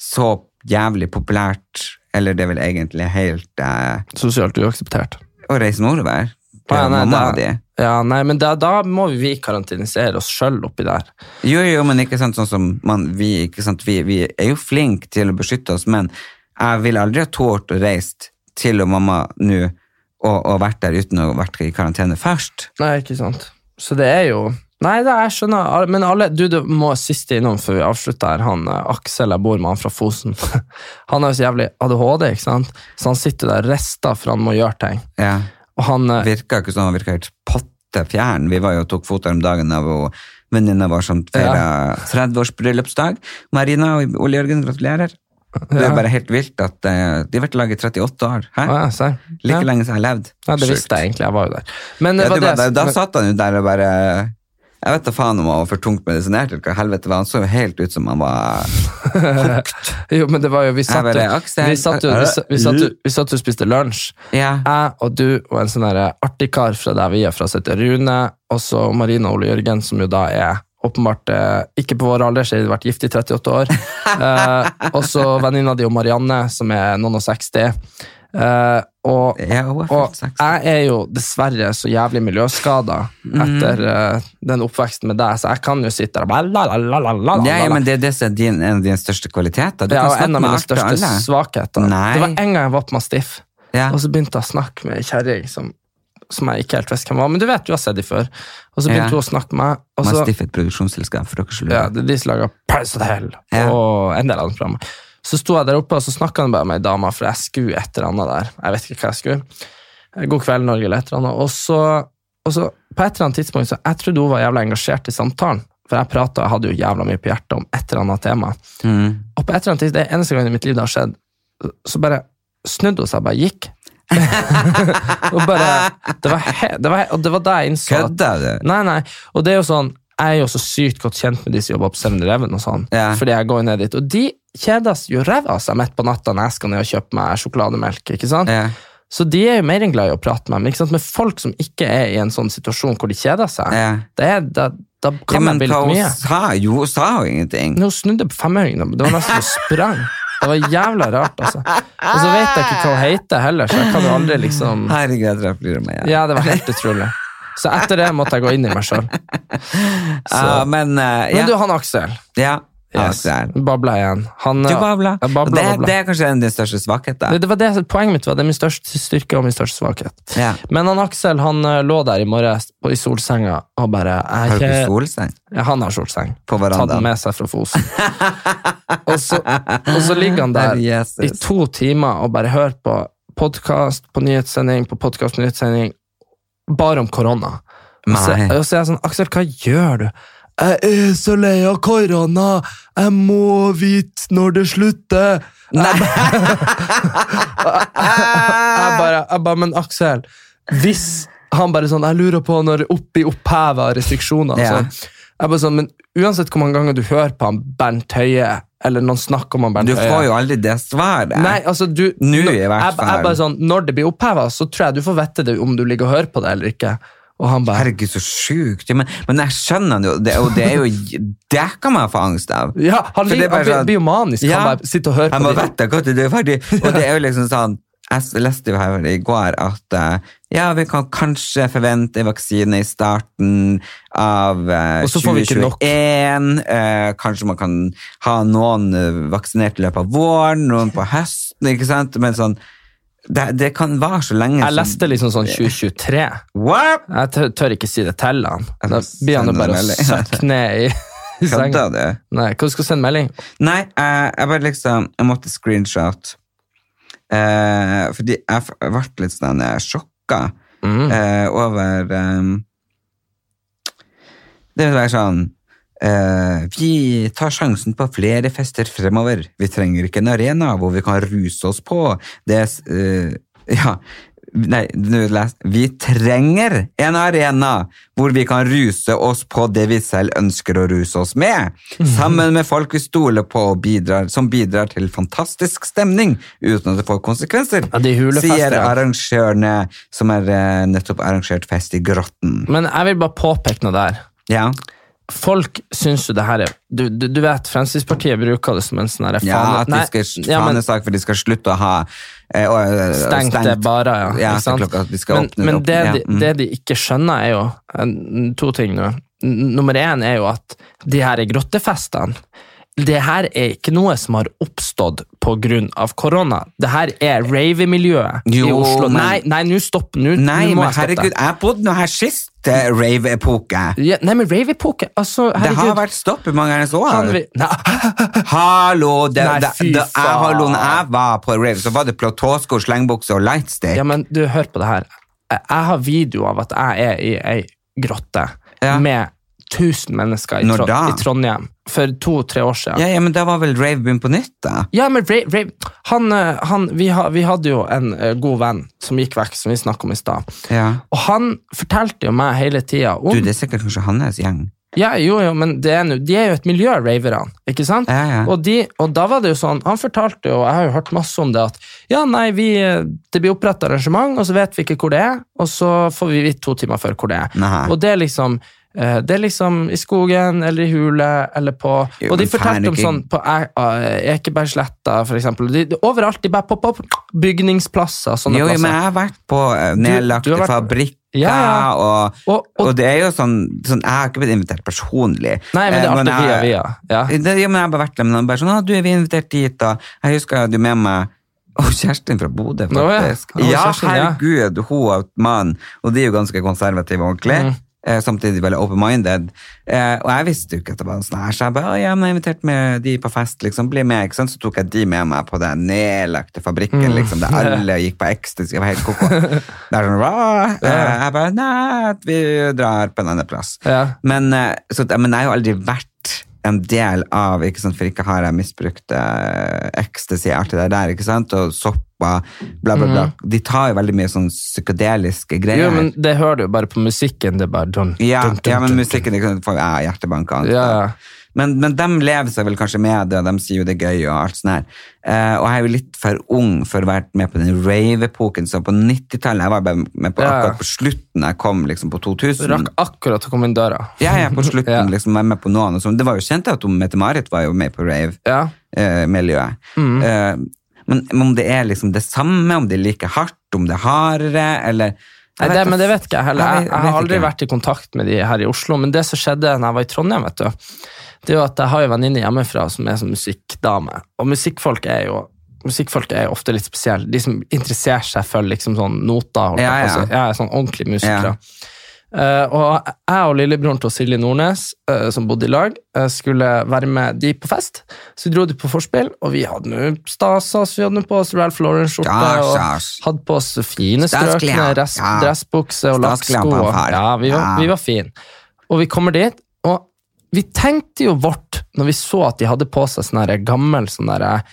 så jævlig populært, eller det er vel egentlig helt eh,
Sosialt uakseptert.
å reise nordover til
Ja, nei,
mamma og
det-
de.
Ja, nei, men da, da må vi karantinisere oss sjøl oppi der.
Jo, jo, men ikke sant, sånn som man, vi, ikke sant, vi, vi er jo flinke til å beskytte oss, men jeg ville aldri ha tålt å reise til og mamma nå og, og vært der uten å ha vært i karantene først.
Nei, ikke sant. Så det er jo Nei, da, jeg skjønner. Al- Men alle, du, du må siste innom før vi avslutter her. Han, eh, Aksel jeg bor med, han fra Fosen. Han har jo så jævlig ADHD, ikke sant? så han sitter der resta for han må gjøre ting.
Ja,
Og han, eh,
virka ikke sånn, han virka helt pottefjern. Vi var jo og tok foter om dagen av og venninna vår som feira 30 års bryllupsdag. Marina og Ole Jørgen, gratulerer. Det er
Ja.
bare helt vilt at eh, de har vært i lag i 38 år. Hæ?
Å, ja, ser.
Like
ja.
lenge som jeg har levd.
Ja, det
Sjukt.
visste jeg egentlig, jeg var jo der. Men eh,
Ja,
var
du,
det,
bare- da,
men-
satt han jo der og bare Jeg vet da faen om han var for tungt medisinert, eller hva helvete var. Han så jo helt ut som han var
Jo, men det var jo Vi satt
bare,
jo
Aksel,
vi satt jo- vi sa- vi satt jo- vi satt jo og spiste lunsj.
Ja.
Jeg og du og en sånn der artig kar fra der vi er fra, som heter Rune, og så Marina Ole Jørgen, som jo da er åpenbart eh, ikke på vår alder, så har vært gift i 38 år. Eh, og så venninna di og Marianne, som er noen og 60. Eh, og
ja hun er
og
fullt sexy.
jeg er jo dessverre så jævlig miljøskada
Mhm.
etter eh, den oppveksten med deg, så jeg kan jo sitte der og bare la, la, la, la, la, la,
Ja, ja,
la.
men det, er det som er din, en av dine største kvaliteter. Du
Det
kan
var
snakke
en av
med
mine
alt og
største
alle.
svakheter.
Nei.
Det var en gang jeg var på Mastiff,
Ja.
og så begynte jeg å snakke med ei kjerring som, som jeg ikke helt visste hvem var. Men du vet, du har sett dem før. Og så begynte
Ja.
hun å snakke med meg. Og så,
Mastiff er et produksjonsselskap, for dere som
ja,
lurer.
det er de som lager Paris Hotel
Ja.
og en del andre programmer. Så sto jeg der oppe, og så snakka han bare med ei dame, for jeg skulle et eller annet der. Jeg vet ikke hva jeg skulle. Eh, God kveld, Norge, eller et eller annet. Og så, og så på et eller annet tidspunkt, så jeg trodde hun var jævla engasjert i samtalen, for jeg pratet, jeg hadde jo jævla mye på hjertet om et eller annet tema.
Mm.
Og på et eller annet tidspunkt, det er eneste gang i mitt liv det har skjedd, så bare snudde hun seg og bare gikk. og bare, det var, he, det var he, og det var da jeg innså at
Kødder du?
Nei, nei, og det er jo sånn Jeg er jo så sykt godt kjent med de som jobber på 7-Eleven og sånn,
Ja.
fordi jeg går ned dit. Og de kjedes jo ræva av seg midt på natta når jeg skal ned og kjøpe meg sjokolademelk. ikke sant?
Ja.
Så de er jo mer enn glad i å prate med meg. ikke sant? Men folk som ikke er i en sånn situasjon hvor de kjeder seg,
Ja.
det er, da, da
Ja,
kan
men
man bli
hva
litt
hun
mye.
sa jo, hun sa jo ingenting.
Men hun snudde på femøringen. Det var nesten hun sprang. Det var jævla rart, altså. Og så vet jeg ikke hva hun heter heller, så jeg kan jo aldri liksom
Herregud, jeg tror jeg flirer meg. Ja.
Ja, det var helt utrolig. Så etter det måtte jeg gå inn i meg sjøl.
Ja, men eh, ja.
Men du, han Aksel.
ja.
Yes.
Aksel.
Babla igjen. Han,
Du babla.
Jeg babla,
Det,
babla.
det er kanskje en av dine største svakheter.
Det, det var det, poenget mitt var det er min største styrke og min største svakhet.
Ja.
Men han Aksel han eh, lå der i morges på- i solsenga og bare jeg
Har
er
du ikke
ikke-
solseng?
Ja, Han har solseng.
På
Tatt den
verandaen.
med seg fra Fosen. og, så, og så ligger han der
Herre Jesus.
i to timer og bare hører på podkast på nyhetssending på podkast nyhetssending, bare om korona. Og så,
Nei.
og så er jeg sånn Aksel, hva gjør du? Jeg er så lei av korona! Jeg må vite når det slutter! jeg bare, jeg bare, men Aksel, hvis han bare sånn, jeg lurer på når oppi oppheva restriksjoner,
Ja.
altså. jeg bare sånn, men uansett hvor mange ganger du hører på han Bernt Høie, eller noen snakker om han Bernt
Du
Høie,
får jo aldri det svaret.
Nei, altså du
Nå i
jeg-
hvert
Jeg,
fall.
bare sånn, Når det blir oppheva, så tror jeg du får vite det om du ligger og hører på det eller ikke. Og han bare
Herregud, så sjukt. Ja, Men, men jeg skjønner det jo, det, og det er jo Det kan man få angst av.
Ja, han,
For det
ligger,
er bare
han blir,
sånn-
blir jo manisk.
Ja.
Han bare sitter og hører
Jeg må
på det.
vite når det er ferdig. Og det er jo liksom sånn Jeg s- leste jo her i går at eh, ja, vi kan kanskje forvente en vaksine i starten av eh,
Og så får vi ikke nok.
2021. Eh, kanskje man kan ha noen eh, vaksinert i løpet av våren, noen på høsten, ikke sant? Men sånn Det, det kan vare så lenge
Jeg leste liksom sånn 2023.
What?
Jeg tør, tør ikke si det til han.
Jeg
Da
må
blir han jo
sende
bare
en
å
melding.
søkke ned i, i senga.
Kødder du?
Nei, hva skal du sende melding?
Nei, jeg, jeg bare liksom Jeg måtte screenshot. Eh, fordi jeg f- jeg ble litt sånn eh, sjokka
Mm.
eh, over eh, Det vil være sånn eh, Vi tar sjansen på flere fester fremover. Vi trenger ikke en arena hvor vi kan ruse oss på. Det er s- eh, Ja. Nei, nå les. Vi trenger en arena hvor vi kan ruse oss på det vi selv ønsker å ruse oss med.
Mhm.
Sammen med folk vi stoler på og bidrar, som bidrar til fantastisk stemning uten at det får konsekvenser.
Ja, de hulefester,
sier
ja.
arrangørene som har eh, nettopp arrangert fest i Grotten.
Men jeg vil bare påpeke noe der.
Ja.
Folk syns jo det her er Du, du, du vet, Fremskrittspartiet bruker det som en sånn herre
Ja, at de
Nei,
skal
ja, men
fanesak, for de skal slutte å ha eh, og, eh,
Stengte barer, ja.
ja
ikke sant?
klokka, at de skal
men
åpne
men
opp-
det,
ja,
de,
mm.
det de ikke skjønner, er jo eh, to ting nå. N- Nummer én er jo at de her grottefestene det her er ikke noe som har oppstått pga. korona. Det her er ravemiljøet i
Jo,
Oslo.
men-
Nei, nei, nå stopp. Nå nå
Mm. Nei,
må
men
jeg stoppe.
herregud, jeg har bodd nå her sist eh, rave-epoke.
Ja, nei, men rave-epoke altså,
Det
herregud.
har vært stopp i mange ganger så.
Kan vi- Nei.
Hallo, det,
Nei,
det,
fy
det, jeg,
faen.
hallo, når jeg var på rave, så var det platåsko, slengbukse og lightstick.
Ja, men du, hør på det her. Jeg jeg har video av at jeg er i ei grotte
Ja.
med 1000 mennesker i,
Når
Trond
da?
i Trondheim for to-tre år siden.
ja, ja, men da var vel rave begynt på nytt, da?
Ja, men Ray, Ray, han, eh, han, vi, ha, vi hadde jo en eh, god venn som gikk vekk, som vi snakket om i stad.
Ja.
Og han fortalte jo meg hele tida om
Du, det er sikkert kanskje hans gjeng.
ja, jo, jo, men det er nå- De er jo et miljø, raverne. ikke sant?
Ja, ja.
Og, de, og da var det jo sånn, Han fortalte jo, og jeg har jo hørt masse om det, at ja, nei, vi, det blir oppretta arrangement, og så vet vi ikke hvor det er, og så får vi vite to timer før hvor det er.
Nei.
Og det er liksom eh, det er liksom i skogen eller i hule eller på
Jo,
Og de
men faen,
fortalte om
ikke-
sånn på E- eh, Ekebergsletta, for eksempel. De, de, overalt. De bare popper opp. Bygningsplasser. Sånne
Jo, jo, men
plasser.
jeg har vært på eh, nedlagte
du har vært-
fabrikker,
Ja, ja.
Og,
Og-
og,
og-
det er jo sånn, sånn Jeg har ikke blitt invitert personlig.
Nei, men det
Eh,
er alltid via
jeg-
via. Ja.
Det, ja, men jeg har bare vært der, men han bare sånn, «Å, du er vi invitert dit, og jeg husker jeg hadde med meg og kjæresten fra Bodø,
Nå, ja.
faktisk.
Å,
Ja,
kjæresten, ja.
herregud, hun og mannen, og de er jo ganske konservative ordentlig,
Mm.
eh, samtidig veldig open-minded. Eh, og jeg visste jo ikke at det var en sånn her, så jeg bare, «Å, ja, men jeg har invitert med de på fest, liksom, bli med, ikke sant? Så tok jeg de med meg på den nedlagte
Mm.
fabrikken, liksom, der alle gikk på ecstasy, jeg var helt koko. Det er sånn, hva? Eh, jeg bare, nei, vi drar på en annen plass.
Ja.
Men, eh, så, at- men jeg har jo aldri vært en del av, ikke sant, for ikke har jeg misbrukt eh, ecstasy, alt det der, ikke sant, og soppa, bla bla bla. De tar jo veldig mye sånn psykedeliske greier.
Mm. Jo, men det hører du jo bare på musikken. Det er bare dun,
ja,
dun, dun,
ja, men
dun.
musikken ikke sant, får jeg hjertebank av.
Ja, ja.
Men, men de lever seg vel kanskje med det, og de sier jo det er gøy og alt sånt her. Eh, og jeg er jo litt for ung for å være med på den rave-epoken, så på 90-tallet, jeg var bare med på
Ja, ja.
akkurat på slutten, jeg kom liksom på 2000.
Rakk akkurat å komme inn døra.
Ja, jeg er på slutten
Ja.
liksom, var med på noe annet. som- Det var jo kjent at hun, Mette-Marit var jo med på
Ja.
rave-miljøet.
Mm.
Eh, men men om det er liksom det samme, om det er like hardt, om det er hardere, eller
Nei,
Jeg
det,
da
men det vet ikke jeg heller. Jeg,
vet-
jeg har
vet
aldri
ikke.
vært i kontakt med de her i Oslo, men det som skjedde da jeg var i Trondheim, vet du, det er jo at jeg har jo venninne hjemmefra som er sånn musikkdame, og musikkfolk er jo Musikkfolk er jo ofte litt spesielle. De som interesserer seg for liksom sånn noter. holdt jeg
Ja,
på å
ja.
si. ja, sånn ordentlige musikere.
Ja.
Eh, og jeg og lillebroren til Silje Nordnes, eh, som bodde i lag, eh, skulle være med de på fest. Så vi dro de på forspill, og vi hadde nå stasa oss. Vi hadde nå på oss Ralph Lauren-skjorte
Stas,
og
stas.
hadde på oss fine
Stasklær,
strøkne rest,
ja.
dressbukse og
Stasklær
lakksko.
på en
og-
far.
Ja, vi var,
Ja.
vi var fine. Og vi kommer dit, og vi tenkte jo vårt når vi så at de hadde på seg sånn her gammel sånn der,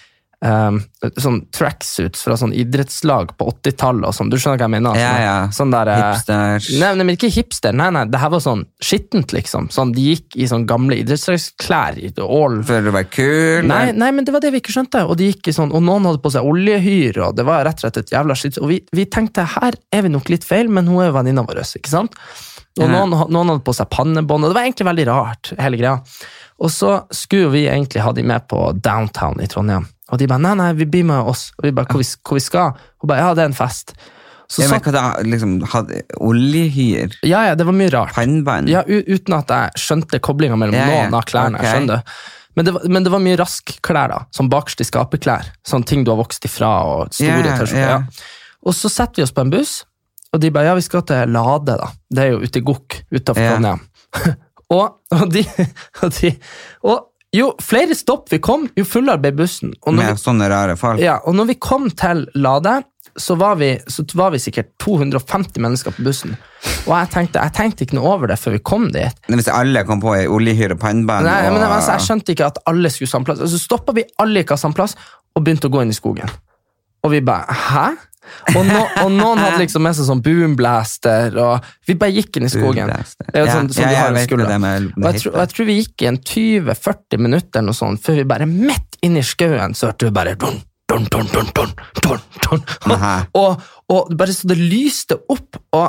ehm, sånn tracksuits fra sånn idrettslag på 80-tallet og sånn. Du skjønner hva jeg mener? altså.
Ja, ja.
Sånn der, eh,
Hipsters.
Nei, nei, men ikke hipster. Nei, nei, det her var sånn skittent, liksom. Sånn, de gikk i sånn gamle idrettsklær. i All...
For å være kul.
Nei, nei, men det var det vi ikke skjønte. Og de gikk i sånn, og noen hadde på seg oljehyr, og det var rett og slett et jævla skitt. Og vi, vi tenkte, her er vi nok litt feil, men hun er jo venninna vår, ikke sant?
Ja.
Og noen, ha- noen hadde på seg pannebånd, og det var egentlig veldig rart, hele greia. Og så skulle jo vi egentlig ha de med på downtown i Trondheim. Og de bare, nei, nei, vi blir med oss. Og vi bare, hvor vi, hvor vi skal? Hun bare, ja, det er en fest. Så sånn-
Jeg vet
satt,
ikke hva det liksom, hadde oljehyr,
ja, ja, det var mye rart.
pannbånd.
Ja, u uten at jeg skjønte koblinga mellom
Ja, ja.
noen av klærne.
Ok.
skjønner du? Men det, var, men det var mye raskklær, da. Sånn bakst i skaperklær. Sånn ting du har vokst ifra. Og store
Ja,
t-skjorter.
ja.
Ja. Og så setter vi oss på en buss, og de bare ja, vi skal til Lade, da. Det er jo ute i Gokk, utafor
Ja.
Trondheim. og, og de, og de og jo flere stopp vi kom, jo fullere ble bussen. Og når vi
Med sånne rare folk.
ja, og når vi kom til Lade, så var vi, så var vi sikkert 250 mennesker på bussen. Og jeg tenkte, jeg tenkte ikke noe over det før vi kom dit.
Men Hvis alle kom på i oljehyr og pannbånd
Nei,
og
men altså, Jeg skjønte ikke at alle skulle samme plass. Og Så stoppa vi alle ikke av samme plass, og begynte å gå inn i skogen. Og vi bare Hæ? Og, nå, og noen hadde liksom med seg sånn boomblaster, og vi bare gikk inn i skogen.
Boomblaster.
Det er jo
Ja,
sånn, sånn
ja,
du
jeg
har en
vet hva
skulder.
det med
og jeg, tror, og jeg tror vi gikk i en 20-40 minutter eller noe sånt, før vi bare midt inn i skauen, så hørte vi bare dun, dun, dun, dun, dun, dun, dun.
Nei.
Og, og bare så det lyste opp, og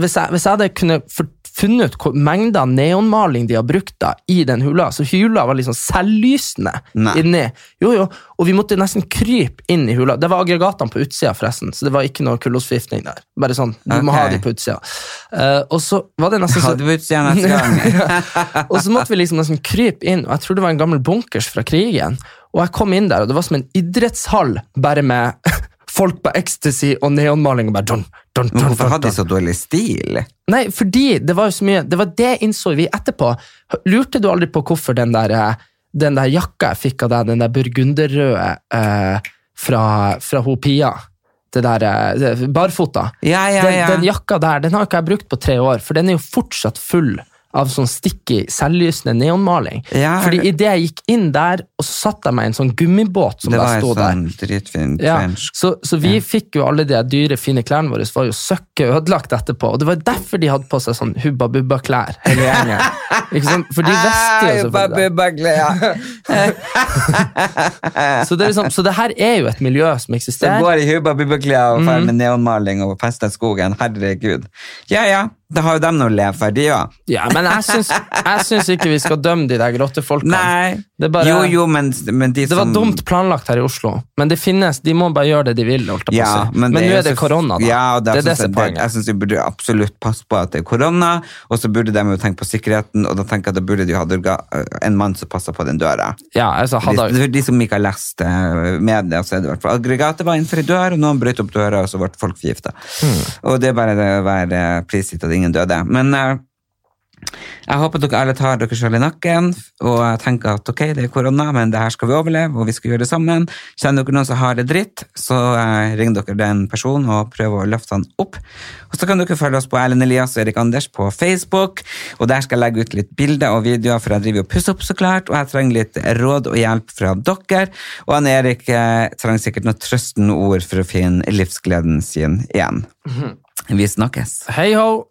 hvis jeg, hvis jeg hadde kunne for- funnet ut hvor mengda neonmaling de har brukt da, i den hula, så hula var liksom selvlysende
Nei.
inni. Jo, jo, og vi måtte nesten krype inn i hula. Det var aggregatene på utsida forresten, så det var ikke noe kullosforgiftning der. Bare sånn, du må
Ok.
ha de på utsida. Eh, og så var det nesten så
Hadde vi utstyr neste gang?
og så måtte vi liksom nesten krype inn, og jeg tror det var en gammel bunkers fra krigen. Og jeg kom inn der, og det var som en idrettshall, bare med folk på ecstasy og neonmaling. og bare dun, dun, dun,
Men
dun,
hvorfor hadde de
dun.
så dårlig stil?
Nei, fordi det var jo så mye Det var det innså vi etterpå. Lurte du aldri på hvorfor den der, eh, den der jakka jeg fikk av deg, den der burgunderrøde eh, fra, fra ho Pia? Det der eh, det- barfota.
Ja, ja,
Den,
ja.
den jakka der den har ikke jeg brukt på tre år, for den er jo fortsatt full av sånn sticky, selvlysende neonmaling.
Ja,
Fordi
det-
idet jeg gikk inn der, og så satte jeg meg i en sånn gummibåt som
det
bare
var en
stod der.
sånn dritfin
Ja,
trench.
så, så vi fikk jo alle de dyre, fine klærne våre var jo søkke ødelagt etterpå. Og det var derfor de hadde på seg sånn hubba-bubba-klær, hele gjengen. Ikke sant? For de
Ah,
visste jo selvfølgelig det.
selvfølgelig.
Så det, er liksom, så det her er jo et miljø som
Så
eksisterer.
går i hubba bubbeklær og
Mm.
ferdig med neonmaling og fester skogen. Herregud. Ja, ja. Da har jo de noe å leve for, de òg.
Ja, men jeg syns, jeg syns ikke vi skal dømme de der grottefolkene.
Nei.
Det, er bare,
Jo, jo, men, men de
det var
som
dumt planlagt her i Oslo, men det finnes, de må bare gjøre det de vil. Holdt jeg på å
Ja,
si. Men nå
jo
er det
så-
korona, da.
Ja, og
det er det
synes jeg-
som er poenget.
Jeg syns de burde absolutt passe på at det er korona, og så burde de jo tenke på sikkerheten, og da tenker jeg at da burde de jo ha durga- en mann som passer på den døra.
Ja, altså, hadde,
De, for de som ikke har lest eh, media, så er det i hvert fall aggregatet var innenfor en dør, og noen brøt opp døra, og så ble folk forgifta. Og det er bare det å være prisgitt at ingen døde. Men eh, jeg håper dere alle tar dere selv i nakken og tenker at ok, det er korona, men det her skal vi overleve, og vi skal gjøre det sammen. Kjenner dere noen som har det dritt, så eh, ring dere den personen og prøv å løfte han opp. Og så kan dere følge oss på Erlend Elias og Erik Anders på Facebook, og der skal jeg legge ut litt bilder og videoer, for jeg driver og pusser opp så klart, og jeg trenger litt råd og hjelp fra dere. Og han Erik eh, trenger sikkert noen trøstende ord for å finne livsgleden sin igjen. Vi snakkes.
Hei ho!